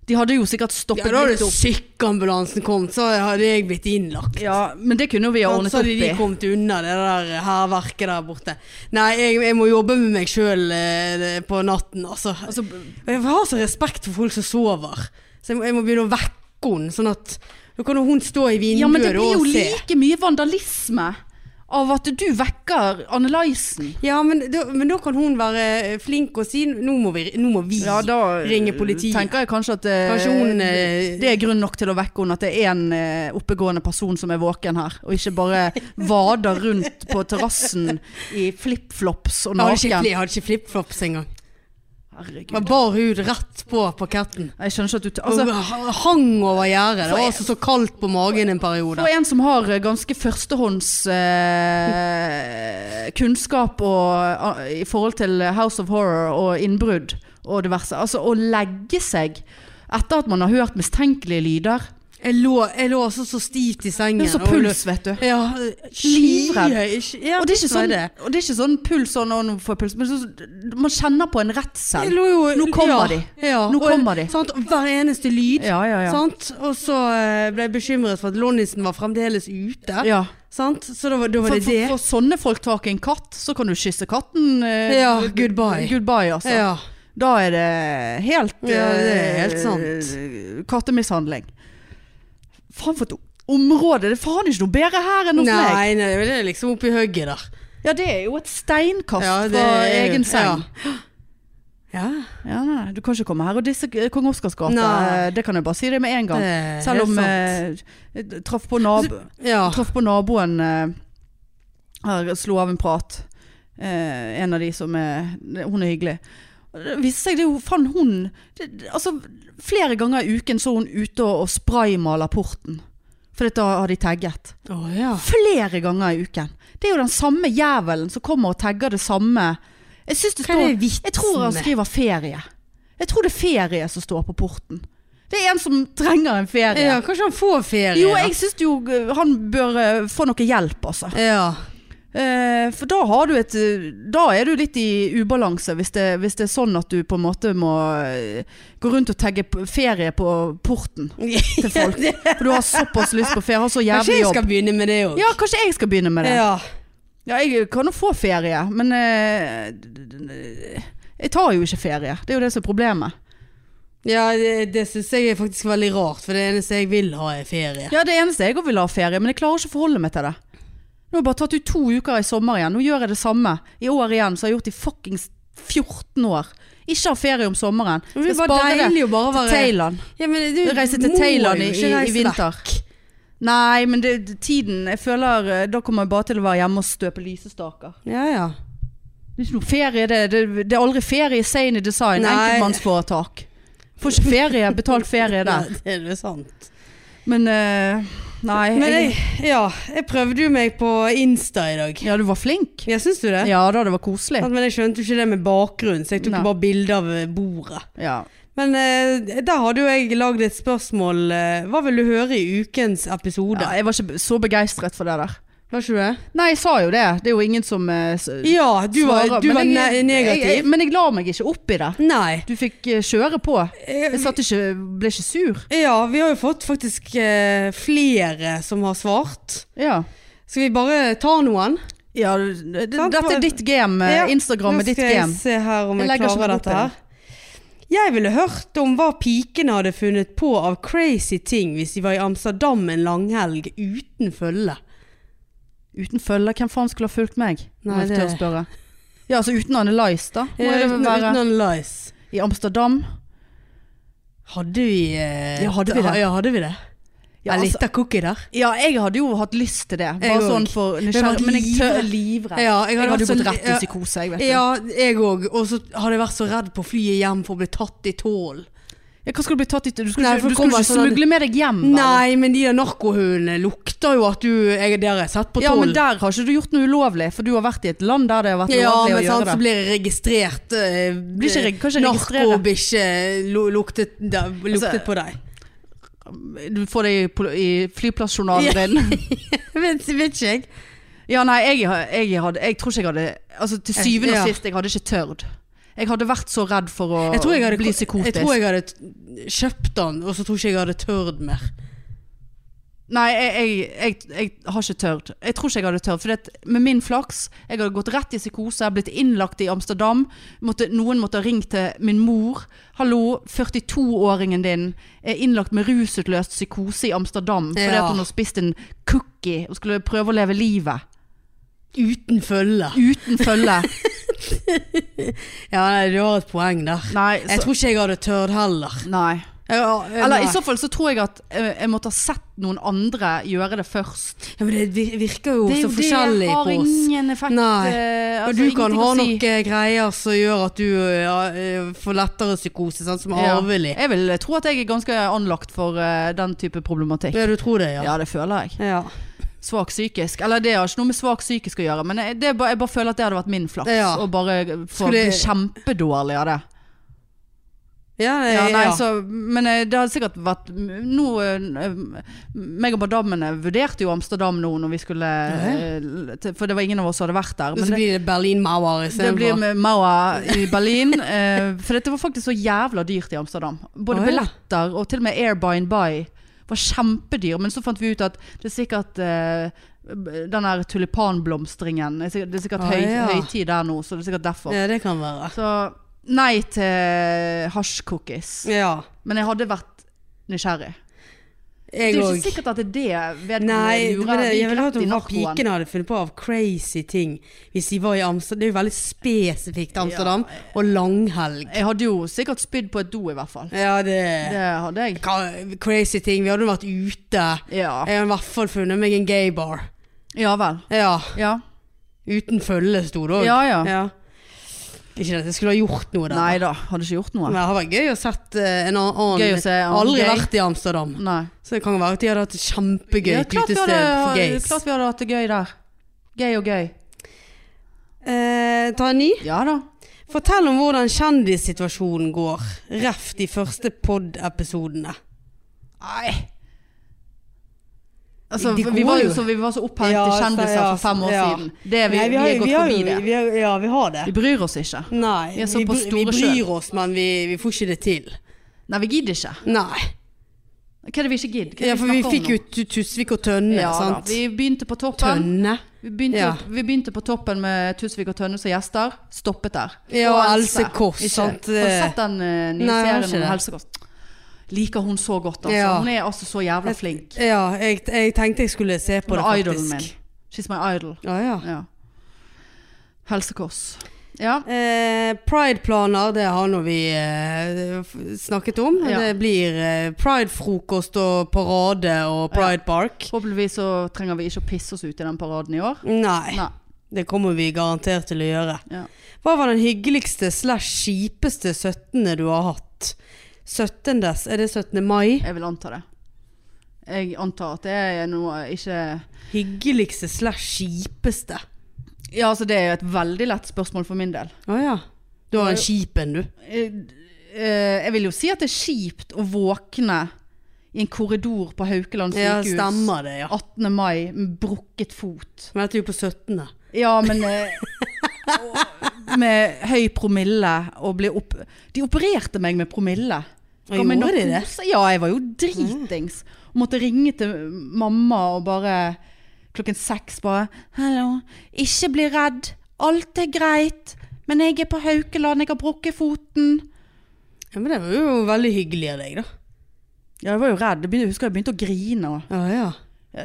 Speaker 2: De hadde jo sikkert
Speaker 1: Ja,
Speaker 2: stoppet
Speaker 1: da hadde
Speaker 2: litt opp.
Speaker 1: sykkeambulansen kommet, så hadde jeg blitt innlagt.
Speaker 2: Ja, men det kunne jo vi ha ordnet
Speaker 1: så
Speaker 2: opp
Speaker 1: hadde de
Speaker 2: i.
Speaker 1: kommet unna det der eh, hærverket der borte. Nei, jeg, jeg må jobbe med meg sjøl eh, på natten, altså.
Speaker 2: Altså,
Speaker 1: Jeg har så respekt for folk som sover, så jeg må, jeg må begynne å vekke henne, sånn at da kan jo hun stå i vinduet
Speaker 2: ja, men det
Speaker 1: da,
Speaker 2: blir jo
Speaker 1: og se.
Speaker 2: like mye vandalisme av at du vekker Annelisen.
Speaker 1: Ja, men da, men da kan hun være flink og si nå må vi, nå må vi ringe politiet.
Speaker 2: tenker jeg kanskje at eh,
Speaker 1: Kanskje hun eh,
Speaker 2: det er grunn nok til å vekke henne at det er en eh, oppegående person som er våken her, og ikke bare vader rundt på terrassen i flipflops og
Speaker 1: Jeg hadde ikke,
Speaker 2: naken.
Speaker 1: fli- jeg hadde ikke flipflops engang.
Speaker 2: Herregud.
Speaker 1: Men bar hud rett på parketten.
Speaker 2: Nei, Jeg skjønner ikke at du t-
Speaker 1: Og
Speaker 2: altså,
Speaker 1: h- hang over gjerdet. Det
Speaker 2: For-
Speaker 1: var altså så kaldt på magen en periode.
Speaker 2: For en som har eh, ganske førstehånds eh, kunnskap og, eh, i forhold til House of Horror og innbrudd og diverse. Altså å legge seg etter at man har hørt mistenkelige lyder.
Speaker 1: Jeg lå, jeg lå altså så stivt i sengen.
Speaker 2: Det er så
Speaker 1: og-
Speaker 2: puls, vet du.
Speaker 1: Ja, skyhøy. Ja,
Speaker 2: Og det er ikke sånn,
Speaker 1: det.
Speaker 2: og det er ikke sånn puls sånn, å, nå får jeg puls. Men så, man kjenner på en
Speaker 1: Jeg
Speaker 2: redsel.
Speaker 1: lå jo,
Speaker 2: Nå kommer
Speaker 1: ja,
Speaker 2: de.
Speaker 1: Ja,
Speaker 2: Nå
Speaker 1: og-
Speaker 2: kommer de.
Speaker 1: Sant? Hver eneste lyd.
Speaker 2: Ja, ja, ja.
Speaker 1: Sant? Og så eh, ble jeg bekymret for at Lonnisen var fremdeles ute.
Speaker 2: ja.
Speaker 1: Sant? Så da var, da var
Speaker 2: For,
Speaker 1: det
Speaker 2: for,
Speaker 1: det.
Speaker 2: for sånne folk tak i en katt, så kan du kysse katten. eh,
Speaker 1: Ja, goodbye.
Speaker 2: Goodbye, altså.
Speaker 1: Ja.
Speaker 2: Da er det helt
Speaker 1: Ja, det er
Speaker 2: eh,
Speaker 1: helt sant.
Speaker 2: Kattemishandling. Faen for et område. Det er faen ikke noe bedre her enn hos meg.
Speaker 1: Nei, nei, det er liksom oppi høgget der.
Speaker 2: Ja, det er jo et steinkast
Speaker 1: Ja, det
Speaker 2: fra
Speaker 1: er jo-
Speaker 2: egen seng.
Speaker 1: Ja.
Speaker 2: Ja. nei, du kan ikke komme her og disse eh, Kong Oscars gate.
Speaker 1: Nei.
Speaker 2: Eh, Det kan jeg bare si det med en gang.
Speaker 1: Det er
Speaker 2: Selv om
Speaker 1: helt Altså, ah.
Speaker 2: eh, jeg traff på, nabo,
Speaker 1: Ja.
Speaker 2: traff på naboen eh, her, slo av en prat. Eh, en av de som er Hun er hyggelig. Det viste seg det er jo faen hun det, det- Altså flere ganger i uken så hun ute og, og spraymaler porten. For da har de tagget.
Speaker 1: Å ja.
Speaker 2: Flere ganger i uken. Det er jo den samme jævelen som kommer og tagger det samme. Jeg syns det
Speaker 1: Hva er
Speaker 2: står
Speaker 1: det vitsen
Speaker 2: Jeg tror han
Speaker 1: med?
Speaker 2: skriver ferie. Jeg tror det er ferie som står på porten. Det er en som trenger en ferie.
Speaker 1: ja. Kanskje han får ferie?
Speaker 2: Jo,
Speaker 1: da?
Speaker 2: jeg syns jo eh, han bør eh, få noe hjelp, altså.
Speaker 1: Ja.
Speaker 2: Eh, for da har du et eh, Da er du litt i ubalanse, hvis det, hvis det er sånn at du på en måte må eh, gå rundt og tagge p- ferie på porten til folk. For du har såpass lyst på ferie, har så
Speaker 1: Kanskje
Speaker 2: jævlig
Speaker 1: jeg
Speaker 2: jobb.
Speaker 1: skal begynne med det òg.
Speaker 2: Ja, kanskje jeg skal begynne med det.
Speaker 1: ja.
Speaker 2: Ja, jeg kan jo få ferie, men eh, d- d- d- Jeg tar jo ikke ferie. Det er jo det som er problemet.
Speaker 1: Ja, det, det syns jeg er faktisk veldig rart, for det eneste jeg vil ha, er ferie.
Speaker 2: Ja, det eneste jeg også vil ha ferie, men jeg klarer ikke å forholde meg til det. Nå har jeg bare tatt ut to uker i sommer igjen. Nå gjør jeg det samme i år igjen, som jeg har gjort i fuckings 14 år. Ikke ha ferie om sommeren.
Speaker 1: Men det
Speaker 2: Skal
Speaker 1: er bare
Speaker 2: spare
Speaker 1: deilig å bare
Speaker 2: til
Speaker 1: være
Speaker 2: Thailand.
Speaker 1: ja, men du
Speaker 2: Reise til
Speaker 1: må
Speaker 2: Thailand i,
Speaker 1: jo
Speaker 2: i,
Speaker 1: ikke reise
Speaker 2: i vinter. Nei, men det, det- tiden Jeg føler eh, Da kommer jeg bare til å være hjemme og støpe lysestaker.
Speaker 1: der. Ja, ja.
Speaker 2: Det er ikke noe ferie, det. Det, det er aldri ferie i Sane Design.
Speaker 1: Nei.
Speaker 2: Enkeltmannsforetak. Får ikke ferie, betalt ferie der.
Speaker 1: Nei, det er jo sant.
Speaker 2: Men eh, Nei.
Speaker 1: Men jeg,
Speaker 2: jeg,
Speaker 1: ja, jeg prøvde jo meg på Insta i dag.
Speaker 2: ja, du var flink.
Speaker 1: Ja, syns du det?
Speaker 2: Ja da, det var koselig.
Speaker 1: Sant, Men jeg skjønte jo ikke det med bakgrunn, så jeg tok
Speaker 2: Nei.
Speaker 1: bare bilde av eh, bordet.
Speaker 2: Ja.
Speaker 1: Men eh, der hadde jo jeg lagd et spørsmål. eh, hva vil du høre i ukens episode?
Speaker 2: ja, jeg var ikke be- så begeistret for det der.
Speaker 1: Var ikke du det?
Speaker 2: Nei, jeg sa jo det. Det er jo ingen som eh, s-
Speaker 1: Ja, du var,
Speaker 2: svarer,
Speaker 1: du
Speaker 2: men
Speaker 1: var
Speaker 2: jeg-
Speaker 1: ne negativ.
Speaker 2: Jeg, jeg, men jeg la meg ikke opp i det.
Speaker 1: Nei.
Speaker 2: Du fikk eh, kjøre på.
Speaker 1: Eh,
Speaker 2: Jeg satt ikke, ble ikke sur.
Speaker 1: Ja, vi har jo fått faktisk eh, flere som har svart.
Speaker 2: Ja.
Speaker 1: Skal vi bare ta noen?
Speaker 2: det,
Speaker 1: Sant,
Speaker 2: dette
Speaker 1: for-
Speaker 2: er ditt game. eh,
Speaker 1: Ja,
Speaker 2: Instagram er ditt game.
Speaker 1: Nå skal jeg se her om
Speaker 2: Jeg
Speaker 1: jeg,
Speaker 2: legger ikke
Speaker 1: klarer
Speaker 2: opp
Speaker 1: dette her. Jeg ville hørt om hva pikene hadde funnet på av crazy ting hvis de var i Amsterdam en langhelg uten følge.
Speaker 2: Uten følger, hvem faen skulle ha fulgt meg? Må
Speaker 1: Nei,
Speaker 2: jeg
Speaker 1: det-
Speaker 2: tør spørre. Ja, altså uten Annelise, da. Må
Speaker 1: Eh,
Speaker 2: det
Speaker 1: uten-
Speaker 2: være
Speaker 1: Uten analyse.
Speaker 2: i Amsterdam.
Speaker 1: Hadde vi eh,
Speaker 2: Ja, hadde vi det?
Speaker 1: Ja, hadde vi det?
Speaker 2: Ja,
Speaker 1: en
Speaker 2: altså-
Speaker 1: liten cookie der.
Speaker 2: Ja, jeg hadde jo hatt lyst til det.
Speaker 1: Jeg
Speaker 2: Bare
Speaker 1: òg.
Speaker 2: sånn for
Speaker 1: jeg var
Speaker 2: nysgjerrig. Men jeg tør
Speaker 1: livredd.
Speaker 2: livredd.
Speaker 1: Ja,
Speaker 2: Jeg
Speaker 1: jeg hadde
Speaker 2: hadde
Speaker 1: vært
Speaker 2: jo
Speaker 1: så
Speaker 2: gått
Speaker 1: li-
Speaker 2: rett til psykose, jeg vet
Speaker 1: Ja, jeg òg. Og så hadde jeg vært så redd på flyet hjem for å bli tatt i tålen.
Speaker 2: Ja, hva skal du bli tatt i? Du skulle,
Speaker 1: Nei,
Speaker 2: ikke- du
Speaker 1: for det
Speaker 2: skulle
Speaker 1: kommer
Speaker 2: ikke
Speaker 1: sånn-
Speaker 2: smugle med deg hjem? vel?
Speaker 1: Nei, men de der narkohundene lukter jo at du jeg, Det har jeg sett på
Speaker 2: Ja, men
Speaker 1: tolv.
Speaker 2: der har ikke du gjort noe ulovlig, for du har vært i et land der det har vært
Speaker 1: Ja,
Speaker 2: ulovlig
Speaker 1: men
Speaker 2: å
Speaker 1: sant,
Speaker 2: gjøre
Speaker 1: så
Speaker 2: det.
Speaker 1: blir jeg registrert eh,
Speaker 2: Blir ikke reg- kanskje registrere.
Speaker 1: Narkobikkje lu- luktet, da, luktet
Speaker 2: Altså,
Speaker 1: på deg.
Speaker 2: Du får det i, pol- i flyplassjournalen din.
Speaker 1: vet, vet ikke jeg.
Speaker 2: Ja, nei, jeg, har- jeg, hadde, jeg tror ikke jeg hadde Altså, til
Speaker 1: Jeg-
Speaker 2: syvende
Speaker 1: ja.
Speaker 2: og sist, jeg hadde ikke tørt. Jeg hadde vært så redd for å
Speaker 1: Jeg tror jeg hadde,
Speaker 2: bli
Speaker 1: jeg
Speaker 2: psykotisk.
Speaker 1: tror jeg hadde t- kjøpt den, og så tror ikke jeg hadde tørt mer.
Speaker 2: Nei, jeg, jeg, jeg, jeg har ikke tørt. Jeg tror ikke jeg hadde tørt. For det, at med min flaks, jeg hadde gått rett i psykose, blitt innlagt i Amsterdam. Måtte, noen måtte ha ringt til min mor. 'Hallo, 42-åringen din er innlagt med rusutløst psykose i Amsterdam' fordi
Speaker 1: Ja.
Speaker 2: at hun har spist en cookie og skulle prøve å leve livet
Speaker 1: Uten følge.
Speaker 2: uten følge.
Speaker 1: Ja, nei, du har et poeng der.
Speaker 2: Nei,
Speaker 1: Jeg
Speaker 2: så,
Speaker 1: tror ikke jeg hadde tørt heller.
Speaker 2: nei.
Speaker 1: Jeg Ja, ja,
Speaker 2: Eller
Speaker 1: nei.
Speaker 2: i så fall så tror jeg at eh, jeg måtte ha sett noen andre gjøre det først.
Speaker 1: ja, men det vir- virker jo
Speaker 2: Det er
Speaker 1: så
Speaker 2: jo det,
Speaker 1: forskjellig
Speaker 2: har
Speaker 1: på oss.
Speaker 2: ingen effekt.
Speaker 1: Nei.
Speaker 2: eh,
Speaker 1: Ja,
Speaker 2: altså,
Speaker 1: du kan
Speaker 2: ingenting
Speaker 1: ha
Speaker 2: å si.
Speaker 1: noen eh, greier som gjør at du ja, eh, får lettere psykose, sant, som er
Speaker 2: Ja.
Speaker 1: arvelig.
Speaker 2: Jeg vil tro at jeg er ganske anlagt for eh, den type problematikk.
Speaker 1: Ja, du tror det, ja.
Speaker 2: Ja, det føler jeg.
Speaker 1: Ja.
Speaker 2: Svak psykisk. Eller det har ikke noe med svak psykisk å gjøre, men jeg, det er bare, jeg bare føler at det hadde vært min flaks.
Speaker 1: Ja.
Speaker 2: Å bare få
Speaker 1: Skulle-
Speaker 2: bli kjempedårlig av det.
Speaker 1: Ja, nei,
Speaker 2: Ja, nei,
Speaker 1: ja.
Speaker 2: Så, men eh, det hadde sikkert vært Nå eh, Meg og madammene vurderte jo Amsterdam nå når vi skulle eh, til- For det var ingen av oss som hadde vært der.
Speaker 1: så
Speaker 2: Men det,
Speaker 1: blir det Berlin-Mauer
Speaker 2: det blir
Speaker 1: istedenfor.
Speaker 2: med Maua i Berlin. eh, For dette var faktisk så jævla dyrt i Amsterdam. Både
Speaker 1: Å, ja.
Speaker 2: billetter og til og med Airbind By var kjempedyr. Men så fant vi ut at det er sikkert eh, den der tulipanblomstringen Det er sikkert, det er sikkert
Speaker 1: Å,
Speaker 2: høy,
Speaker 1: ja.
Speaker 2: høytid der nå, så det er sikkert derfor.
Speaker 1: Ja, det kan være.
Speaker 2: Så nei til hasjcookies.
Speaker 1: Ja.
Speaker 2: Men jeg hadde vært nysgjerrig. Det er
Speaker 1: Jeg
Speaker 2: jo
Speaker 1: òg.
Speaker 2: ikke sikkert at det er det vedkommende
Speaker 1: Nei, men
Speaker 2: lurer.
Speaker 1: det,
Speaker 2: Vi
Speaker 1: jeg ville
Speaker 2: gikk rett
Speaker 1: hørt
Speaker 2: i
Speaker 1: om hva
Speaker 2: narkoen.
Speaker 1: pikene hadde funnet på av crazy ting hvis de var i Amsterdam. Det er jo veldig spesifikt Amsterdam, og langhelg.
Speaker 2: Jeg hadde jo sikkert spydd på et do, i hvert fall.
Speaker 1: Ja, det,
Speaker 2: Det hadde jeg.
Speaker 1: Ka- Crazy ting. Vi hadde jo vært ute.
Speaker 2: Ja,
Speaker 1: Jeg hadde i hvert fall funnet meg en gaybar.
Speaker 2: ja vel.
Speaker 1: Ja.
Speaker 2: Ja.
Speaker 1: Uten følge sto det òg.
Speaker 2: Ja, ja.
Speaker 1: Ikke at jeg skulle ha gjort noe der.
Speaker 2: Nei da, hadde ikke gjort
Speaker 1: Men
Speaker 2: noe.
Speaker 1: det hadde vært gøy å sett eh, en annen annen-
Speaker 2: Gøy å se en annen
Speaker 1: Aldri
Speaker 2: gay.
Speaker 1: vært i Amsterdam.
Speaker 2: Nei.
Speaker 1: Så det kan jo være at de hadde hatt et kjempegøy
Speaker 2: Ja, klart, vi
Speaker 1: utested
Speaker 2: hadde, eh,
Speaker 1: for gays.
Speaker 2: klart vi hadde hatt det gøy der. Gøy og gøy.
Speaker 1: Eh, ta en ny.
Speaker 2: Ja da.
Speaker 1: Fortell om hvordan kjendissituasjonen går. Ref de første pod-episodene.
Speaker 2: Nei. Altså,
Speaker 1: De
Speaker 2: vi,
Speaker 1: gode
Speaker 2: var
Speaker 1: jo.
Speaker 2: jo så, vi var så opphengt
Speaker 1: Ja,
Speaker 2: i
Speaker 1: så-
Speaker 2: kjendiser
Speaker 1: ja,
Speaker 2: for fem år
Speaker 1: ja.
Speaker 2: siden. Det, er vi,
Speaker 1: Nei,
Speaker 2: vi,
Speaker 1: har-
Speaker 2: er gått
Speaker 1: har
Speaker 2: forbi
Speaker 1: jo-
Speaker 2: det.
Speaker 1: Vi har, ja, vi har det.
Speaker 2: Vi bryr oss ikke.
Speaker 1: Nei,
Speaker 2: Vi er såpass
Speaker 1: bry- vi
Speaker 2: store
Speaker 1: bryr oss, men vi, vi får ikke det til.
Speaker 2: Nei, vi gidder ikke.
Speaker 1: Nei.
Speaker 2: Hva er det vi ikke gidder? Hva er
Speaker 1: Ja,
Speaker 2: det
Speaker 1: for vi
Speaker 2: snakker om
Speaker 1: fikk
Speaker 2: nå?
Speaker 1: jo Tu- Tusvik og Tønne,
Speaker 2: ja, da.
Speaker 1: sant?
Speaker 2: Vi begynte på toppen.
Speaker 1: Tønne.
Speaker 2: Vi begynte,
Speaker 1: Ja.
Speaker 2: vi begynte på toppen med Tusvik og Tønne som gjester. Stoppet der.
Speaker 1: Ja, og Else Kåss,
Speaker 2: Ikke-
Speaker 1: sant?
Speaker 2: Har du sett den eh, nye
Speaker 1: Nei, jeg har ikke
Speaker 2: serien om
Speaker 1: det.
Speaker 2: Helse Kåss? Liker hun så godt, altså.
Speaker 1: Ja.
Speaker 2: Hun er altså så jævla flink.
Speaker 1: Ja, jeg, jeg tenkte jeg skulle se
Speaker 2: Hun
Speaker 1: på det,
Speaker 2: er
Speaker 1: faktisk.
Speaker 2: idolen min. She's my idol.
Speaker 1: Ja, ja.
Speaker 2: Ja. Helse Kåss. Ja.
Speaker 1: Eh, Pride-planer, det har nå vi eh, f- snakket om.
Speaker 2: Ja.
Speaker 1: Det blir eh, pride-frokost og parade og Pride Park.
Speaker 2: Forhåpentligvis så trenger vi ikke å pisse oss ut i den paraden i år.
Speaker 1: Nei,
Speaker 2: Nei.
Speaker 1: det kommer vi garantert til å gjøre.
Speaker 2: Ja.
Speaker 1: Hva var den hyggeligste slash kjipeste 17. du har hatt? 17. er det 17. mai?
Speaker 2: Jeg vil anta det. Jeg antar at det er noe ikke
Speaker 1: Hyggeligste slash kjipeste.
Speaker 2: Ja, altså det er jo et veldig lett spørsmål for min del.
Speaker 1: Å ja. Du har en kjip en, du.
Speaker 2: Eh, eh, Jeg vil jo si at det er kjipt å våkne i en korridor på Haukeland
Speaker 1: Ja,
Speaker 2: sykehus
Speaker 1: stemmer det, ja.
Speaker 2: 18. mai med brukket fot.
Speaker 1: Men dette er jo på 17.
Speaker 2: Ja, men eh, og- Med høy promille og bli opp... De opererte meg med promille.
Speaker 1: Ja,
Speaker 2: Ga meg
Speaker 1: gjorde de det?
Speaker 2: narkose. Ja, jeg var jo dritings. Og måtte ringe til mamma og bare klokken seks bare 'Hallo, ikke bli redd. Alt er greit. Men jeg er på Haukeland, jeg har brukket foten'.
Speaker 1: Ja, men det var jo veldig hyggelig av deg, da.
Speaker 2: Ja, jeg var jo redd. Jeg begynte- jeg husker jeg begynte å grine. og-
Speaker 1: Ja, ja.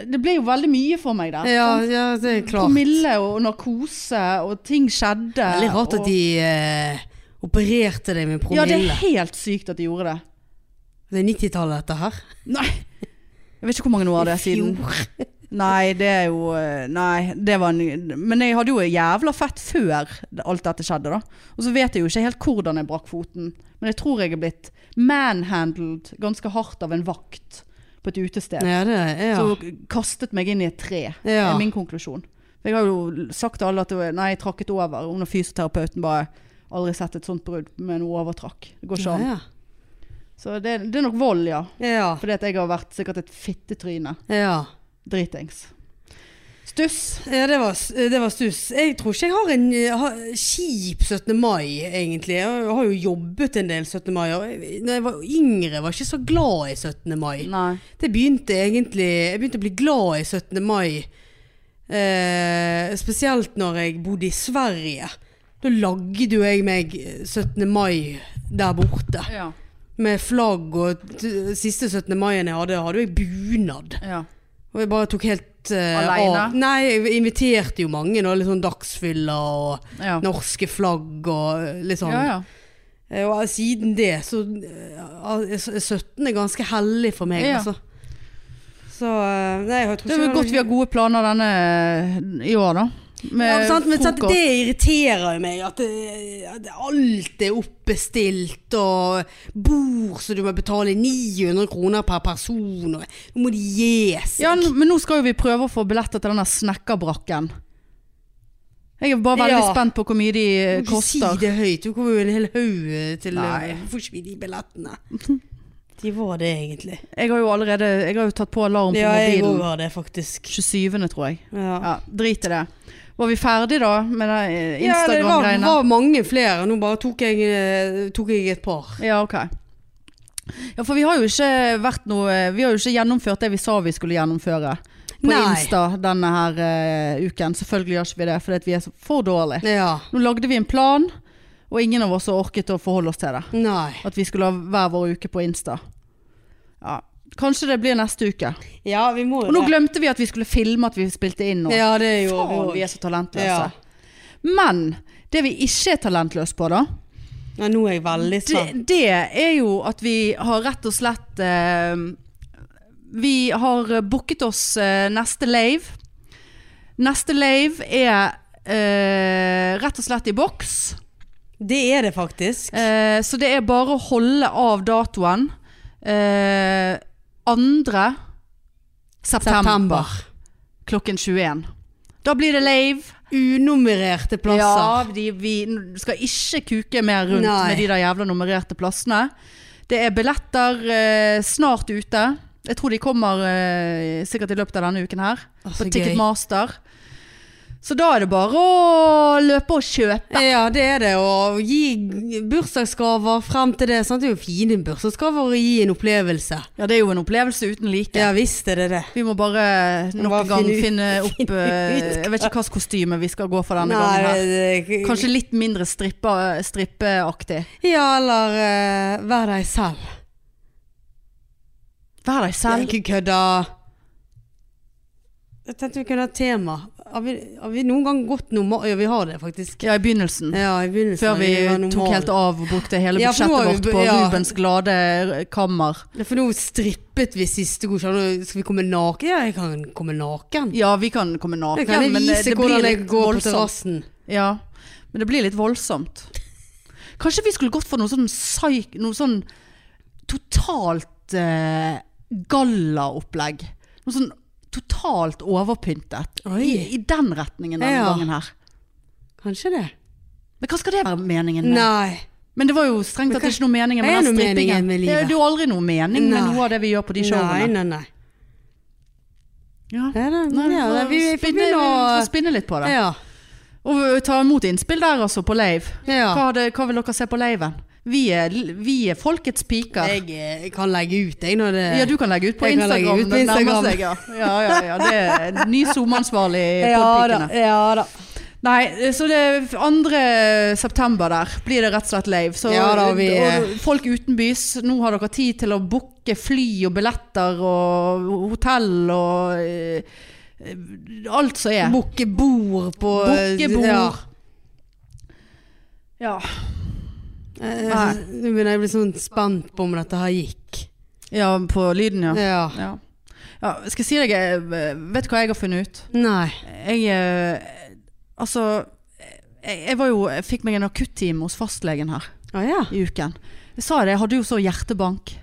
Speaker 2: Det ble jo veldig mye for meg der.
Speaker 1: Ja, ja det er klart.
Speaker 2: Promille og narkose og ting skjedde.
Speaker 1: Veldig
Speaker 2: og-
Speaker 1: rart at de eh, opererte deg med
Speaker 2: Ja,
Speaker 1: promille.
Speaker 2: det er helt sykt at de gjorde det.
Speaker 1: det er 90-tallet dette her.
Speaker 2: Nei. Jeg vet ikke hvor mange år det er siden. Nei, det er jo eh, Nei, det var en Men jeg hadde jo jævla fett før det- alt dette skjedde, da. Og så vet jeg jo ikke helt hvordan jeg brakk foten. Men jeg tror jeg er blitt manhandled ganske hardt av en vakt på et utested.
Speaker 1: Ja, det er, ja.
Speaker 2: Så kastet meg inn i et tre,
Speaker 1: Ja.
Speaker 2: er min konklusjon. Jeg har jo sagt til alle at det var- nei, jeg trakket over. Hun og fysioterapeuten bare aldri sett et sånt brudd med noe overtrakk. Det går ikke an.
Speaker 1: ja,
Speaker 2: Så det, det er nok vold, ja.
Speaker 1: ja.
Speaker 2: Fordi at jeg har vært sikkert et fittetryne.
Speaker 1: ja.
Speaker 2: Dritings. Stuss.
Speaker 1: Ja, det var, s- det var stuss. Jeg tror ikke jeg har en eh, har, kjip 17. mai, egentlig. Jeg har jo jobbet en del 17. mai. og jeg- Når jeg var yngre, var jeg ikke så glad i 17. mai.
Speaker 2: Nei.
Speaker 1: Det begynte egentlig Jeg begynte å bli glad i 17. mai. Eh, spesielt når jeg bodde i Sverige. Da lagde jo jeg meg 17. mai der borte.
Speaker 2: Ja.
Speaker 1: Med flagg og t Siste 17. mai-en jeg hadde, hadde jeg bunad.
Speaker 2: ja.
Speaker 1: Og jeg bare tok helt eh,
Speaker 2: Alene?
Speaker 1: av. Nei, jeg inviterte jo mange. Da, litt sånn dagsfyller og
Speaker 2: Ja.
Speaker 1: norske flagg og eh, litt sånn.
Speaker 2: ja, ja.
Speaker 1: Eh, Og siden det så eh, er 17 er ganske hellig for meg,
Speaker 2: Ja.
Speaker 1: altså. Så eh, Nei, jeg tror
Speaker 2: Det
Speaker 1: ikke
Speaker 2: er jo godt vi har gode planer denne i år, da. Med
Speaker 1: ja, sant? Men sant,
Speaker 2: frokost.
Speaker 1: det irriterer jo meg. At, det, at det- alt er oppbestilt, og bord så du må betale 900 kroner per person. Og nå må de gi seg.
Speaker 2: Ja, n- men nå skal jo vi prøve å få billetter til denne snekkerbrakken. Jeg er bare veldig
Speaker 1: Ja.
Speaker 2: spent på hvor mye de eh,
Speaker 1: Du må ikke si
Speaker 2: koster.
Speaker 1: det høyt. Du kommer jo en hel haug eh, til
Speaker 2: Nei.
Speaker 1: Nei. Får ikke vi de billettene? De var det, egentlig.
Speaker 2: Jeg har jo allerede jeg har jo tatt på alarm på
Speaker 1: Ja, jeg òg
Speaker 2: mobilen.
Speaker 1: var det, faktisk.
Speaker 2: 27. tror jeg.
Speaker 1: Ja.
Speaker 2: Ja, Drit i det. Var vi ferdig da med de, eh,
Speaker 1: Ja, det var,
Speaker 2: Instagram-greiene?
Speaker 1: var mange flere. Nå bare tok jeg, eh, tok jeg et par.
Speaker 2: Ja, ok. Ja, for vi har jo ikke vært noe eh, Vi har jo ikke gjennomført det vi sa vi skulle gjennomføre på
Speaker 1: Nei.
Speaker 2: Insta denne her eh, uken. Selvfølgelig gjør ikke vi det, fordi at vi er så for dårlige.
Speaker 1: Ja.
Speaker 2: Nå lagde vi en plan, og ingen av oss har orket å forholde oss til det.
Speaker 1: Nei.
Speaker 2: At vi skulle ha hver vår uke på Insta. Ja. Kanskje det blir neste uke.
Speaker 1: Ja, vi må
Speaker 2: Og nå glemte vi at vi skulle filme at vi spilte inn nå.
Speaker 1: Ja, det gjorde vi
Speaker 2: Faen,
Speaker 1: også.
Speaker 2: vi er så talentløse.
Speaker 1: Ja.
Speaker 2: Men det vi ikke er talentløse på, da,
Speaker 1: Ja, nå er jeg veldig sånn.
Speaker 2: det,
Speaker 1: spent.
Speaker 2: det er jo at vi har rett og slett eh, Vi har booket oss eh, neste lave. Neste lave er eh, rett og slett i boks.
Speaker 1: Det er det faktisk.
Speaker 2: Eh, så det er bare å holde av datoen. Eh, 2. september, klokken 21. Da blir det lave.
Speaker 1: Unummererte plasser.
Speaker 2: Ja, de, vi skal ikke kuke mer rundt
Speaker 1: Nei.
Speaker 2: med de der jævla nummererte plassene. Det er billetter eh, snart ute. Jeg tror de kommer eh, sikkert i løpet av denne uken her.
Speaker 1: Å, så
Speaker 2: på
Speaker 1: gøy.
Speaker 2: Ticketmaster. Så da er det bare å løpe og kjøpe.
Speaker 1: Ja. det er det. Og gi bursdagsgaver frem til det. Sant? Det er jo fine bursdagsgaver å gi en opplevelse.
Speaker 2: Ja, det er jo en opplevelse uten like.
Speaker 1: Ja visst er det det.
Speaker 2: Vi må bare
Speaker 1: må
Speaker 2: nok
Speaker 1: bare
Speaker 2: en gang
Speaker 1: finne
Speaker 2: finne
Speaker 1: ut-
Speaker 2: opp
Speaker 1: finne
Speaker 2: eh,
Speaker 1: ut
Speaker 2: Jeg vet ikke hvilket kostyme vi skal gå for denne gangen her.
Speaker 1: Nei, det-
Speaker 2: Kanskje litt mindre strippa- strippeaktig.
Speaker 1: Ja, eller eh, vær deg selv.
Speaker 2: Vær deg selv.
Speaker 1: Ikke kødda. Jeg tenkte vi kunne ha et tema. Har vi, har vi noen gang gått normal... Ja, vi har det faktisk.
Speaker 2: Ja, i begynnelsen.
Speaker 1: Ja, i begynnelsen.
Speaker 2: Før vi
Speaker 1: var normal.
Speaker 2: tok helt av og brukte hele
Speaker 1: Ja, for nå
Speaker 2: budsjettet
Speaker 1: har vi
Speaker 2: vårt
Speaker 1: bu-
Speaker 2: på
Speaker 1: ja.
Speaker 2: Rubens glade kammer.
Speaker 1: Ja, For nå strippet vi siste god kjærlighet. Skal vi komme naken? Ja, jeg kan komme naken.
Speaker 2: Ja, vi kan komme naken,
Speaker 1: Jeg kan
Speaker 2: men det,
Speaker 1: vise
Speaker 2: det blir
Speaker 1: hvordan jeg
Speaker 2: litt
Speaker 1: går på
Speaker 2: voldsomt.
Speaker 1: terrassen.
Speaker 2: Ja, men det blir litt voldsomt. Kanskje vi skulle gått for noe sånn, psyk, noe sånn totalt eh, gallaopplegg. Noe sånn totalt overpyntet. I,
Speaker 1: Oi.
Speaker 2: I den retningen denne
Speaker 1: Ja.
Speaker 2: gangen her.
Speaker 1: Kanskje det.
Speaker 2: Men hva skal det være meningen med?
Speaker 1: Nei.
Speaker 2: Men det var jo strengt
Speaker 1: Men
Speaker 2: tatt
Speaker 1: hva-
Speaker 2: ikke noe meningen
Speaker 1: Hva
Speaker 2: med
Speaker 1: er
Speaker 2: den
Speaker 1: noe meningen
Speaker 2: strippingen.
Speaker 1: med
Speaker 2: Det er
Speaker 1: livet?
Speaker 2: jo aldri noe mening med
Speaker 1: Nei.
Speaker 2: noe av det vi gjør på de
Speaker 1: Nei,
Speaker 2: showene.
Speaker 1: nei, nei.
Speaker 2: Ja.
Speaker 1: Nei, nei,
Speaker 2: Nei, vi,
Speaker 1: ja, nei,
Speaker 2: får
Speaker 1: vi vi får
Speaker 2: spinne,
Speaker 1: begynne å
Speaker 2: vi får spinne litt på det.
Speaker 1: Ja.
Speaker 2: Og ø, ta imot innspill der altså, på lave. Hva,
Speaker 1: ja.
Speaker 2: hadde, hva vil dere se på laven? Vi er, vi er folkets piker.
Speaker 1: Jeg, eh, kan legge ut, jeg, når det
Speaker 2: Ja, du kan legge ut på
Speaker 1: Jeg kan legge
Speaker 2: Instagram.
Speaker 1: ut på
Speaker 2: det nærmer
Speaker 1: Instagram.
Speaker 2: Seg, ja. Ja, ja, ja, det er ny SoMe-ansvarlig i
Speaker 1: Ja da.
Speaker 2: podpikene.
Speaker 1: Ja da.
Speaker 2: Nei, så det 2. september der blir det rett og slett lave. Så
Speaker 1: Ja da, vi-
Speaker 2: og folk utenbys, nå har dere tid til å booke fly og billetter og hotell og eh, alt som er.
Speaker 1: Bukke bord på
Speaker 2: Bukke bord.
Speaker 1: Ja.
Speaker 2: Ja.
Speaker 1: Eh,
Speaker 2: Nei.
Speaker 1: Nå begynner jeg å bli sånn spent på om dette her gikk.
Speaker 2: ja, på lyden, ja.
Speaker 1: Ja.
Speaker 2: ja. ja skal jeg si deg, eh, vet du hva jeg har funnet ut?
Speaker 1: Nei.
Speaker 2: Jeg eh, Altså jeg, jeg var jo Jeg fikk meg en akuttime hos fastlegen her
Speaker 1: Å ja.
Speaker 2: i uken. Jeg sa det, jeg hadde jo så hjertebank.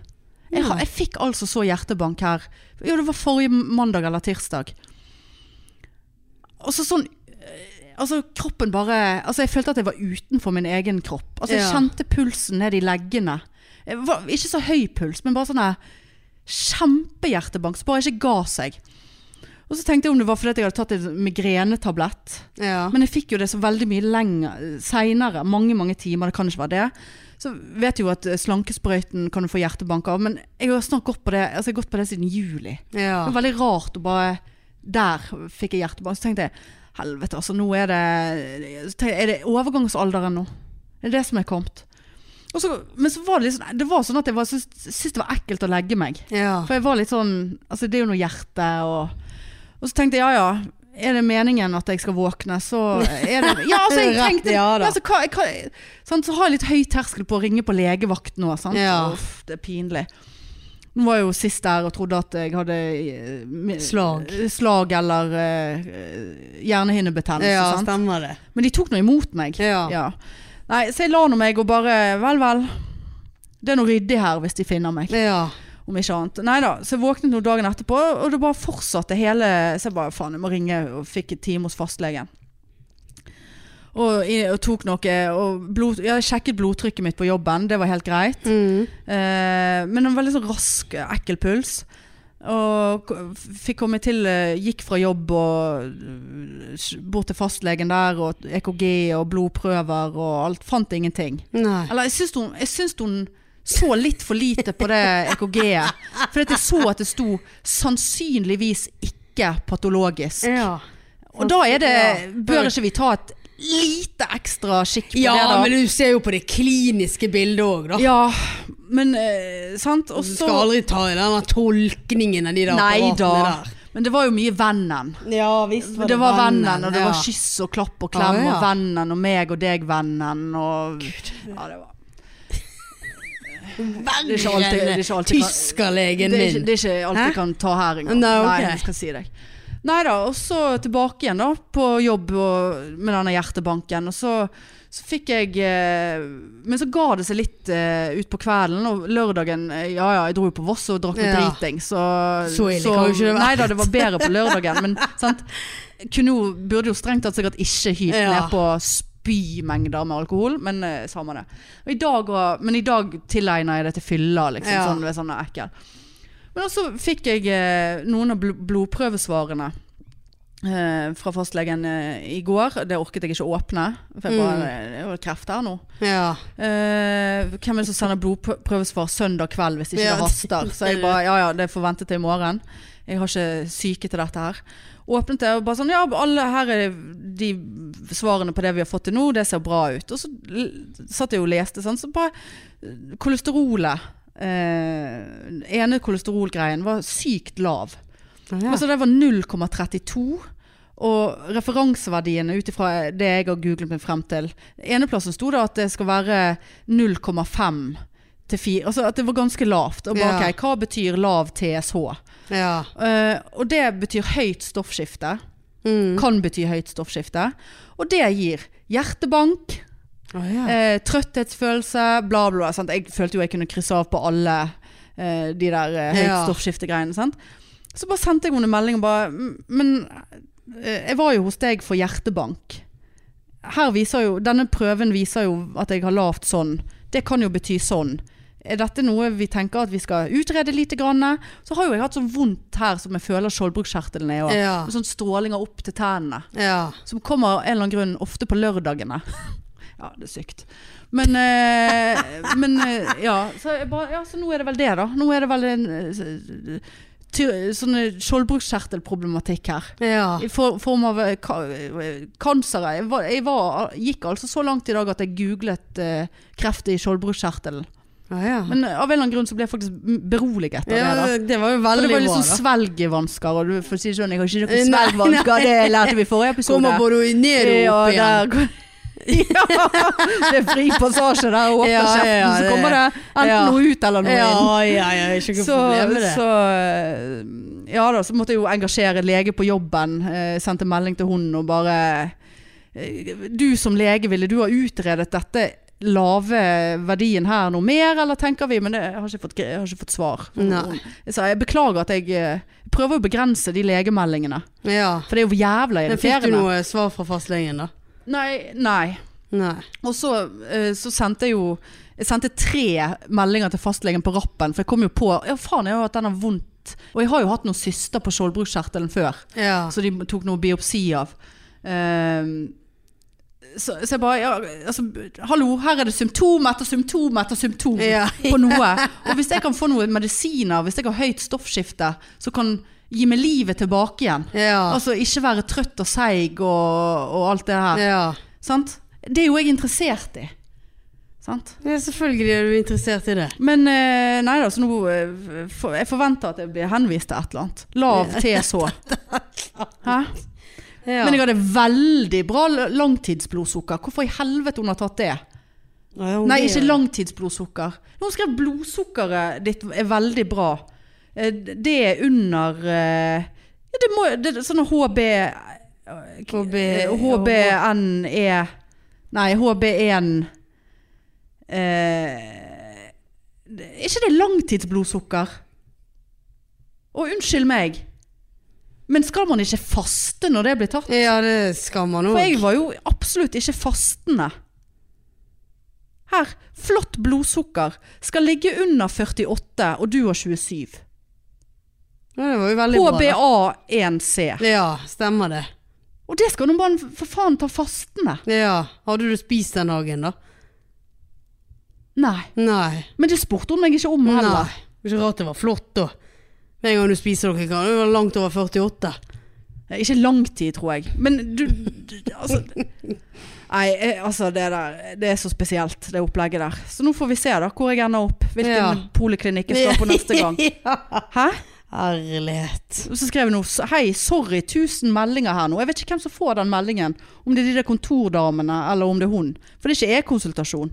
Speaker 2: Jeg,
Speaker 1: Ja.
Speaker 2: ha- jeg fikk altså så hjertebank her Jo, det var forrige mandag eller tirsdag. Altså sånn eh, Altså kroppen bare Altså jeg følte at jeg var utenfor min egen kropp. Altså jeg
Speaker 1: Ja.
Speaker 2: kjente pulsen ned i leggene. Jeg var, ikke så høy puls, men bare sånn her kjempehjertebank som bare ikke ga seg. Og så tenkte jeg om det var fordi at jeg hadde tatt en migrenetablett.
Speaker 1: ja.
Speaker 2: Men jeg fikk jo det så veldig mye lenger Senere, mange, mange timer, det kan ikke være det Så vet jeg jo at eh, slankesprøyten kan du få hjertebank av Men jeg har snart gått på det Altså jeg har gått på det siden juli Det
Speaker 1: ja.
Speaker 2: var veldig rart å bare Der fikk jeg hjertebank Så tenkte jeg, helvete altså nå er det så tenkte jeg, Er det overgangsalderen nå? Er det det som er kommet? Og så, men så var det liksom Det var sånn at jeg var, syntes, syntes det var ekkelt å legge meg
Speaker 1: Ja.
Speaker 2: for jeg var litt sånn Altså, det er jo noe hjerte og Og så tenkte jeg, ja ja. er det meningen at jeg skal våkne, så er det Ja, altså, jeg
Speaker 1: Rett,
Speaker 2: trengte
Speaker 1: ja da.
Speaker 2: altså, hva, hva, sant, Så har jeg litt høy terskel på å ringe på legevakt nå, sant.
Speaker 1: Ja.
Speaker 2: Uff, det er pinlig. Nå var jeg jo sist der og trodde at jeg hadde eh, mi-
Speaker 1: Slag.
Speaker 2: slag eller eh, hjernehinnebetennelse.
Speaker 1: Ja,
Speaker 2: sant?
Speaker 1: stemmer det.
Speaker 2: Men de tok nå imot meg.
Speaker 1: Ja.
Speaker 2: Ja. Nei, så jeg la nå meg og bare Vel, vel. Det er nå ryddig her hvis de finner meg.
Speaker 1: ja.
Speaker 2: Om ikke annet. Nei da. Så jeg våknet nå dagen etterpå, og det bare fortsatte hele Så jeg bare faen, jeg må ringe, og fikk en time hos fastlegen. Og, i- og tok noe og blod, Jeg sjekket blodtrykket mitt på jobben, det var helt greit.
Speaker 1: Mm.
Speaker 2: Eh, men en veldig sånn rask, ekkel puls. Og k- fikk komme til eh, Gikk fra jobb og eh, s- bort til fastlegen der, og EKG og blodprøver og alt. Fant ingenting.
Speaker 1: Nei.
Speaker 2: Eller jeg syns hun, jeg syns hun så litt for lite på det EKG-et. For jeg så at det sto 'sannsynligvis ikke patologisk'.
Speaker 1: Ja.
Speaker 2: Og da er det
Speaker 1: Ja.
Speaker 2: Bør ikke vi ta et lite ekstra skikk på det,
Speaker 1: ja,
Speaker 2: da?
Speaker 1: men du ser jo på det kliniske bildet òg, da.
Speaker 2: ja, men eh, Sant? Og
Speaker 1: Du
Speaker 2: så
Speaker 1: skal aldri ta i denne tolkningen av de der
Speaker 2: Nei
Speaker 1: apparatene
Speaker 2: da.
Speaker 1: der.
Speaker 2: Men det var jo mye vennen.
Speaker 1: Ja visst
Speaker 2: Det var vennen, og det var
Speaker 1: skitt.
Speaker 2: kyss og klapp og klem,
Speaker 1: Ja, ja.
Speaker 2: og vennen og meg og deg, vennen og ja, det, var. Det er ikke alltid- det er ikke alltid- Det,
Speaker 1: Tyskerlegen
Speaker 2: er ikke,
Speaker 1: min.
Speaker 2: det er ikke alt
Speaker 1: Hæ?
Speaker 2: jeg kan ta her engang.
Speaker 1: Nei, ok.
Speaker 2: Nei, jeg skal si deg. Nei da, og så tilbake igjen da på jobb og, med denne hjertebanken. Og så, så fikk jeg eh, Men så ga det seg litt eh, utpå kvelden, og lørdagen eh, Ja ja, jeg dro jo på Voss og drakk meg
Speaker 1: Ja.
Speaker 2: driting, så
Speaker 1: Så ille kan jo ikke det være.
Speaker 2: Nei da, det var bedre på lørdagen, men sant. Kunne jo, burde jo strengt tatt sikkert ikke hylt
Speaker 1: Ja.
Speaker 2: ned på spymengder med alkohol, men eh, samme det. Og i dag, var- men i dag tilegner jeg det til fylla, liksom.
Speaker 1: Ja.
Speaker 2: Sånn, det er sånn ekkel. Men også fikk jeg eh, noen av bl blodprøvesvarene eh, fra fastlegen eh, i går. Det orket jeg ikke å åpne. For jeg bare, Det er jo kreft her nå.
Speaker 1: Ja.
Speaker 2: Eh, hvem er det som sender blodprøvesvar søndag kveld hvis ikke
Speaker 1: Ja,
Speaker 2: det haster? Så jeg bare ja ja, det får vente til i morgen. Jeg har ikke syke til dette her. Åpnet det og bare sånn ja, alle her er de svarene på det vi har fått til nå, det ser bra ut. Og så l- satt jeg og leste sånn, så bare eh, Kolesterolet. Eh, ene kolesterolgreien var sykt lav.
Speaker 1: Ja.
Speaker 2: Altså det var 0,32. Og referanseverdiene ut ifra det jeg har googlet meg frem til Eneplassen sto det at det skal være 0,5 til 4. Altså at det var ganske lavt. Og bare,
Speaker 1: Ja.
Speaker 2: ok, hva betyr lav TSH?
Speaker 1: ja.
Speaker 2: Eh, og det betyr høyt stoffskifte.
Speaker 1: Mm.
Speaker 2: Kan bety høyt stoffskifte. Og det gir hjertebank,
Speaker 1: Å, ja.
Speaker 2: eh, trøtthetsfølelse, bla, bla. Sant? Jeg følte jo jeg kunne krysse av på alle eh, de der eh, høyt
Speaker 1: Ja.
Speaker 2: stoffskiftegreiene. Sant? Så bare sendte jeg henne en melding og bare "M- Men eh, jeg var jo hos deg for hjertebank. Her viser jo, denne prøven viser jo at jeg har lavt sånn. Det kan jo bety sånn. Er dette noe vi tenker at vi skal utrede lite grann? Så har jo jeg hatt så vondt her som jeg føler skjoldbruskkjertelen er. Og,
Speaker 1: Eh, Ja.
Speaker 2: Sånn strålinger opp til tennene.
Speaker 1: ja.
Speaker 2: Som kommer av en eller annen grunn ofte på lørdagene. ja, det er sykt. Men, eh, men eh, ja, så jeg bare, ja, så nå er det vel det, da. Nå er det vel en eh, s- ty- sånn eh, skjoldbruskkjertelproblematikk her.
Speaker 1: ja.
Speaker 2: I for, form av eh, ka, eh, kancer. Jeg, var, jeg var, gikk altså så langt i dag at jeg googlet eh, kreft i skjoldbruskkjertelen.
Speaker 1: Å, ja.
Speaker 2: Men eh, av en eller annen grunn så ble jeg faktisk m- beroliget av det. da.
Speaker 1: ja. Det var jo
Speaker 2: For
Speaker 1: veldig
Speaker 2: det var
Speaker 1: bra,
Speaker 2: liksom
Speaker 1: da.
Speaker 2: svelgevansker, og du får si det sånn, jeg har ikke noen
Speaker 1: Nei,
Speaker 2: svelgevansker, det lærte vi i forrige episode.
Speaker 1: Kommer både ned og
Speaker 2: Ja,
Speaker 1: opp
Speaker 2: der
Speaker 1: igjen.
Speaker 2: går- ja, det er fri passasje der og åpner
Speaker 1: Ja, ja, ja,
Speaker 2: kjeften, så
Speaker 1: det-
Speaker 2: kommer det enten
Speaker 1: ja.
Speaker 2: noe ut eller noe
Speaker 1: Ja,
Speaker 2: inn.
Speaker 1: ja, ja. Ikke noe
Speaker 2: Så,
Speaker 1: problem med det.
Speaker 2: så eh, Ja da, så måtte jeg jo engasjere lege på jobben. eh, Sendte melding til hun og bare eh, Du som lege, ville du ha utredet dette lave verdien her noe mer, eller tenker vi? Men det, jeg, har ikke fått, gre- jeg har ikke fått svar.
Speaker 1: Nei.
Speaker 2: Jeg sa jeg beklager at jeg eh, prøver å begrense de legemeldingene.
Speaker 1: Ja.
Speaker 2: For det er jo jævla
Speaker 1: Men fikk du
Speaker 2: irriterende.
Speaker 1: noe svar fra fastlegen, da?
Speaker 2: Nei, nei.
Speaker 1: Nei.
Speaker 2: Og så, eh, så sendte jeg jo jeg sendte tre meldinger til fastlegen på rappen, for jeg kom jo på Ja, faen, jeg har jo hatt den har vondt. Og jeg har jo hatt noen syster på skjoldbruskkjertelen før,
Speaker 1: Ja.
Speaker 2: så de tok noe biopsi av. Ehm, så, så jeg bare ja, altså, Hallo, her er det symptom etter symptom etter symptom
Speaker 1: Ja.
Speaker 2: på noe. Og hvis jeg kan få noen medisiner, hvis jeg har høyt stoffskifte, så kan gi meg livet tilbake igjen.
Speaker 1: Ja.
Speaker 2: Altså ikke være trøtt og seig og, og alt det her.
Speaker 1: ja.
Speaker 2: Sant? Det er jo jeg interessert i. Sant?
Speaker 1: ja selvfølgelig er du interessert i det.
Speaker 2: Men eh, nei da, så nå eh, for, Jeg forventer at jeg blir henvist til et eller annet. Lav TSH. Hæ?
Speaker 1: Ja.
Speaker 2: Men jeg hadde veldig bra l- langtidsblodsukker. Hvorfor i helvete hun har tatt det?
Speaker 1: Ja, hun
Speaker 2: Nei,
Speaker 1: er-
Speaker 2: ikke langtidsblodsukker. Hun skrev blodsukkeret ditt er veldig bra. Eh, Det er under eh, ja, det må, det, er sånn Sånne HB
Speaker 1: HB
Speaker 2: eh, HBNE E, Nei, HB1 eh, det- Er ikke det langtidsblodsukker? Å, unnskyld meg. Men skal man ikke faste når det blir tatt?
Speaker 1: Ja, det skal man
Speaker 2: For jeg
Speaker 1: òg.
Speaker 2: var jo absolutt ikke fastende. Her. Flott blodsukker. Skal ligge under 48, og du har 27.
Speaker 1: Ja, det var jo veldig bra.
Speaker 2: HBA1C.
Speaker 1: da. Ja, stemmer det.
Speaker 2: Og det skal nå bare for faen ta fastende.
Speaker 1: Ja. Hadde du spist den dagen, da?
Speaker 2: Nei.
Speaker 1: Nei.
Speaker 2: Men det spurte hun meg ikke om heller.
Speaker 1: Nei. Ikke rart det var flott, da. Med en gang du spiser noe, kan du være langt over 48.
Speaker 2: Eh, Ikke lang tid, tror jeg. Men du, du altså, Nei, eh, altså det der Det er så spesielt, det opplegget der. Så nå får vi se da hvor jeg ender opp. Hvilken
Speaker 1: Ja.
Speaker 2: poliklinikk jeg skal på neste gang.
Speaker 1: Ja.
Speaker 2: Hæ?
Speaker 1: Herlighet.
Speaker 2: Og Så skrev hun også, hei, sorry, tusen meldinger her nå. Jeg vet ikke hvem som får den meldingen. Om det er de der kontordamene, eller om det er hun. For det er ikke e-konsultasjon.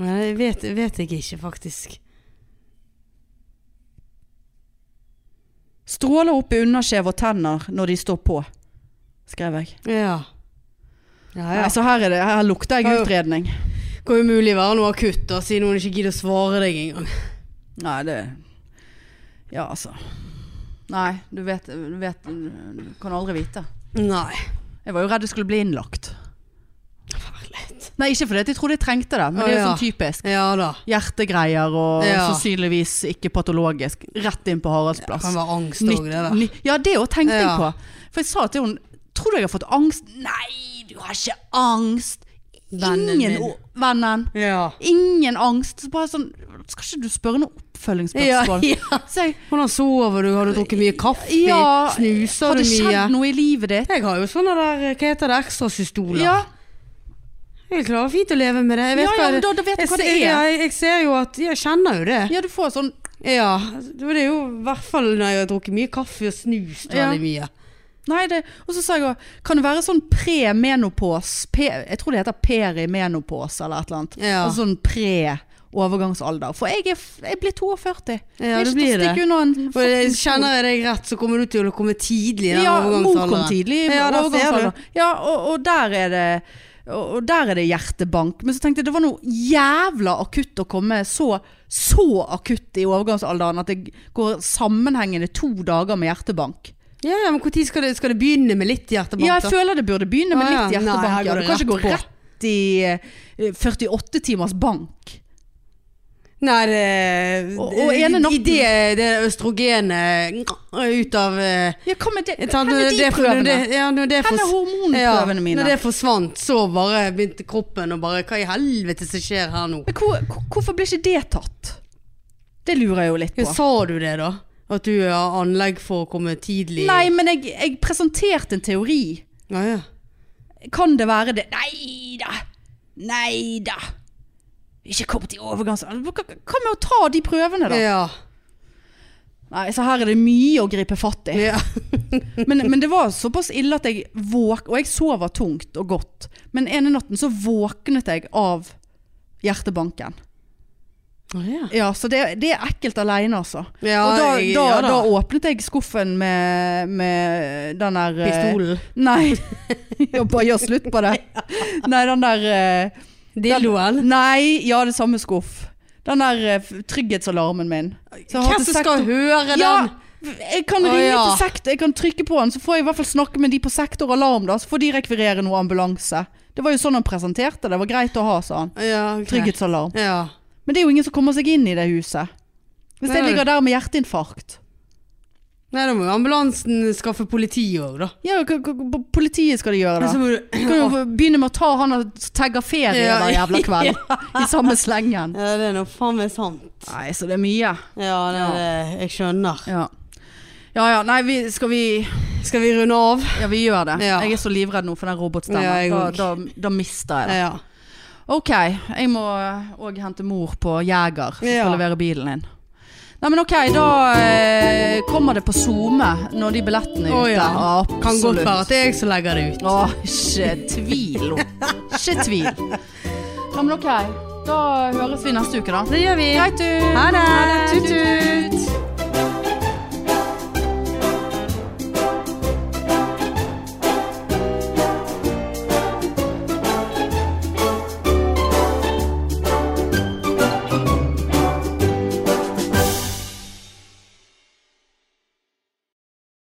Speaker 1: Nei, det vet, vet jeg ikke, faktisk.
Speaker 2: Stråler opp i underskjev og tenner når de står på, skrev jeg.
Speaker 1: Ja. Ja, ja.
Speaker 2: Nei, så her, er det, her lukter jeg utredning.
Speaker 1: Kan umulig være noe akutt, da, siden hun ikke gidder å svare deg engang.
Speaker 2: Nei, det... Ja, altså. Nei, du vet, du vet, du kan aldri vite.
Speaker 1: Nei.
Speaker 2: Jeg var jo redd jeg skulle bli innlagt.
Speaker 1: Herlighet.
Speaker 2: Nei, ikke fordi at jeg trodde jeg trengte det, men det er jo
Speaker 1: Å, ja.
Speaker 2: sånn typisk.
Speaker 1: Ja da.
Speaker 2: Hjertegreier og
Speaker 1: Ja.
Speaker 2: sannsynligvis ikke patologisk. Rett inn på
Speaker 1: Det
Speaker 2: Haraldsplass.
Speaker 1: kan være angst
Speaker 2: Nytt-
Speaker 1: òg, det der.
Speaker 2: ny- ja, det òg tenkte jeg
Speaker 1: Ja.
Speaker 2: på. For jeg sa til hun Tror du jeg har fått angst? Nei, du har ikke angst.
Speaker 1: Vennen
Speaker 2: Ingen
Speaker 1: min.
Speaker 2: o- Vennen.
Speaker 1: Ja.
Speaker 2: Ingen angst. Så bare sånn Skal ikke du spørre noe
Speaker 1: Ja,
Speaker 2: oppfølgingsspørsmål?
Speaker 1: ja.
Speaker 2: Så jeg
Speaker 1: Hvordan sover du? Har du drukket mye kaffe?
Speaker 2: Ja,
Speaker 1: Snuser
Speaker 2: Har
Speaker 1: du
Speaker 2: det
Speaker 1: mye?
Speaker 2: skjedd noe i livet ditt?
Speaker 1: Jeg har jo sånne der, hva heter det, ekstrasystoler.
Speaker 2: Ja,
Speaker 1: Jeg klarer fint å leve med det. Jeg
Speaker 2: ja, ja
Speaker 1: vet hva
Speaker 2: men
Speaker 1: det
Speaker 2: da, da vet du
Speaker 1: jeg,
Speaker 2: hva det
Speaker 1: ser-
Speaker 2: er.
Speaker 1: Jeg, jeg ser jo at Jeg kjenner jo det.
Speaker 2: Ja, du får sånn
Speaker 1: Ja. Det er jo i hvert fall når jeg har drukket mye kaffe og snust
Speaker 2: Ja.
Speaker 1: veldig mye.
Speaker 2: Nei, det, og så sa jeg også, kan det være sånn pre-menopos, pe, jeg tror det heter perimenopos eller et eller annet.
Speaker 1: Ja.
Speaker 2: Altså sånn pre-overgangsalder. For jeg er, f- jeg blir 42.
Speaker 1: Ja,
Speaker 2: Jeg
Speaker 1: det
Speaker 2: er ikke til å
Speaker 1: blir det.
Speaker 2: stikke unna en
Speaker 1: For jeg
Speaker 2: fucking stol.
Speaker 1: Kjenner jeg deg rett, så kommer du til å komme tidlig i den
Speaker 2: ja, mor kom
Speaker 1: overgangsalderen.
Speaker 2: tidlig i
Speaker 1: Ja, der ser du.
Speaker 2: overgangsalder. Ja, og, og der er det og og der er det hjertebank. Men så tenkte jeg det var noe jævla akutt å komme så, så akutt i overgangsalderen at det går sammenhengende to dager med hjertebank.
Speaker 1: Ja, ja, men Når skal, det- skal det begynne med litt hjertebank?
Speaker 2: Ja, jeg
Speaker 1: da?
Speaker 2: føler det burde begynne med
Speaker 1: Å, ja.
Speaker 2: litt hjertebank.
Speaker 1: Nei, her
Speaker 2: ja.
Speaker 1: går
Speaker 2: Du
Speaker 1: det
Speaker 2: kan ikke gå
Speaker 1: rett på.
Speaker 2: rett i eh, 48 timers bank.
Speaker 1: Nei, det
Speaker 2: Og- og ene
Speaker 1: I
Speaker 2: natten-
Speaker 1: det, det østrogenet ut av eh,
Speaker 2: Ja, hva med det?
Speaker 1: jeg tar-
Speaker 2: Hvor er
Speaker 1: når
Speaker 2: de
Speaker 1: det- Når
Speaker 2: prøvene?
Speaker 1: det, ja, når det
Speaker 2: Hvor er
Speaker 1: fors- ja,
Speaker 2: hormonprøvene
Speaker 1: Når
Speaker 2: mine?
Speaker 1: det forsvant, så bare begynte kroppen å bare Hva i helvete som skjer her nå?
Speaker 2: Men hvor, hvor- hvorfor ble ikke det tatt? Det lurer jeg jo litt
Speaker 1: Ja,
Speaker 2: på.
Speaker 1: sa du det, da? At du har anlegg for å komme tidlig?
Speaker 2: Nei, men jeg, jeg presenterte en teori.
Speaker 1: Ja, ja.
Speaker 2: Kan det være det? Nei da! Nei da! Ikke kom til overgangsalderen. Hva- Hva med å ta de prøvene, da?
Speaker 1: ja.
Speaker 2: Nei, Så her er det mye å gripe fatt i.
Speaker 1: ja.
Speaker 2: Men, men det var såpass ille at jeg våk... Og jeg sover tungt og godt. Men ene natten så våknet jeg av hjertebanken.
Speaker 1: Å, ja.
Speaker 2: Ja, så det, det er ekkelt alene, altså.
Speaker 1: Ja,
Speaker 2: og da,
Speaker 1: jeg-
Speaker 2: da,
Speaker 1: ja
Speaker 2: da.
Speaker 1: da.
Speaker 2: åpnet jeg skuffen med, med den der eh,
Speaker 1: Pistolen.
Speaker 2: Nei. Jeg bare gjør slutt på det. Nei, den der eh,
Speaker 1: Dildoen.
Speaker 2: Nei, ja, det samme skuff. Den der eh, f- trygghetsalarmen min. Så jeg har
Speaker 1: Hvem
Speaker 2: til
Speaker 1: som
Speaker 2: sekt-
Speaker 1: skal høre den?
Speaker 2: Ja, jeg kan
Speaker 1: Å,
Speaker 2: ringe
Speaker 1: ja.
Speaker 2: til sektor, jeg kan trykke på den, så får jeg i hvert fall snakke med de på sektor alarm, da, så får de rekvirere noe ambulanse. Det var jo sånn han presenterte det, det var greit å ha, sa han.
Speaker 1: Ja, ok.
Speaker 2: Trygghetsalarm.
Speaker 1: Ja.
Speaker 2: Men det er jo ingen som kommer seg inn i det huset. Hvis jeg
Speaker 1: Nei.
Speaker 2: ligger der med hjerteinfarkt.
Speaker 1: Nei, da må jo ambulansen skaffe politi òg, da.
Speaker 2: Ja, k- k- k- politiet skal de gjøre
Speaker 1: Men
Speaker 2: det.
Speaker 1: så må
Speaker 2: De kan jo
Speaker 1: du
Speaker 2: begynne med å ta han og tagge ferie
Speaker 1: Altså, Ja.
Speaker 2: hver jævla kveld. I samme slengen.
Speaker 1: Ja, det er nå faen meg sant.
Speaker 2: Nei, så det er mye.
Speaker 1: Ja, det er det. Jeg skjønner.
Speaker 2: Ja. Ja ja, nei, vi, skal vi
Speaker 1: Skal vi runde av?
Speaker 2: Ja, vi gjør det.
Speaker 1: Ja.
Speaker 2: Jeg er så livredd nå for den robotstemmen.
Speaker 1: Ja, jeg
Speaker 2: da,
Speaker 1: òg.
Speaker 2: da, da mister jeg det.
Speaker 1: Ja.
Speaker 2: Ok, jeg må òg eh, hente mor på Jæger som
Speaker 1: Ja.
Speaker 2: skal levere bilen inn. Nei, men ok, da eh, kommer det på SoMe når de billettene er ute.
Speaker 1: Å ja.
Speaker 2: Absolutt.
Speaker 1: Kan godt være at det er jeg som legger det ut.
Speaker 2: Å, ikke tvil. Ikke tvil. Ja, men ok, da høres vi neste uke da.
Speaker 1: Det gjør vi.
Speaker 2: Greit, du.
Speaker 1: Ha det.
Speaker 2: Tut, tut.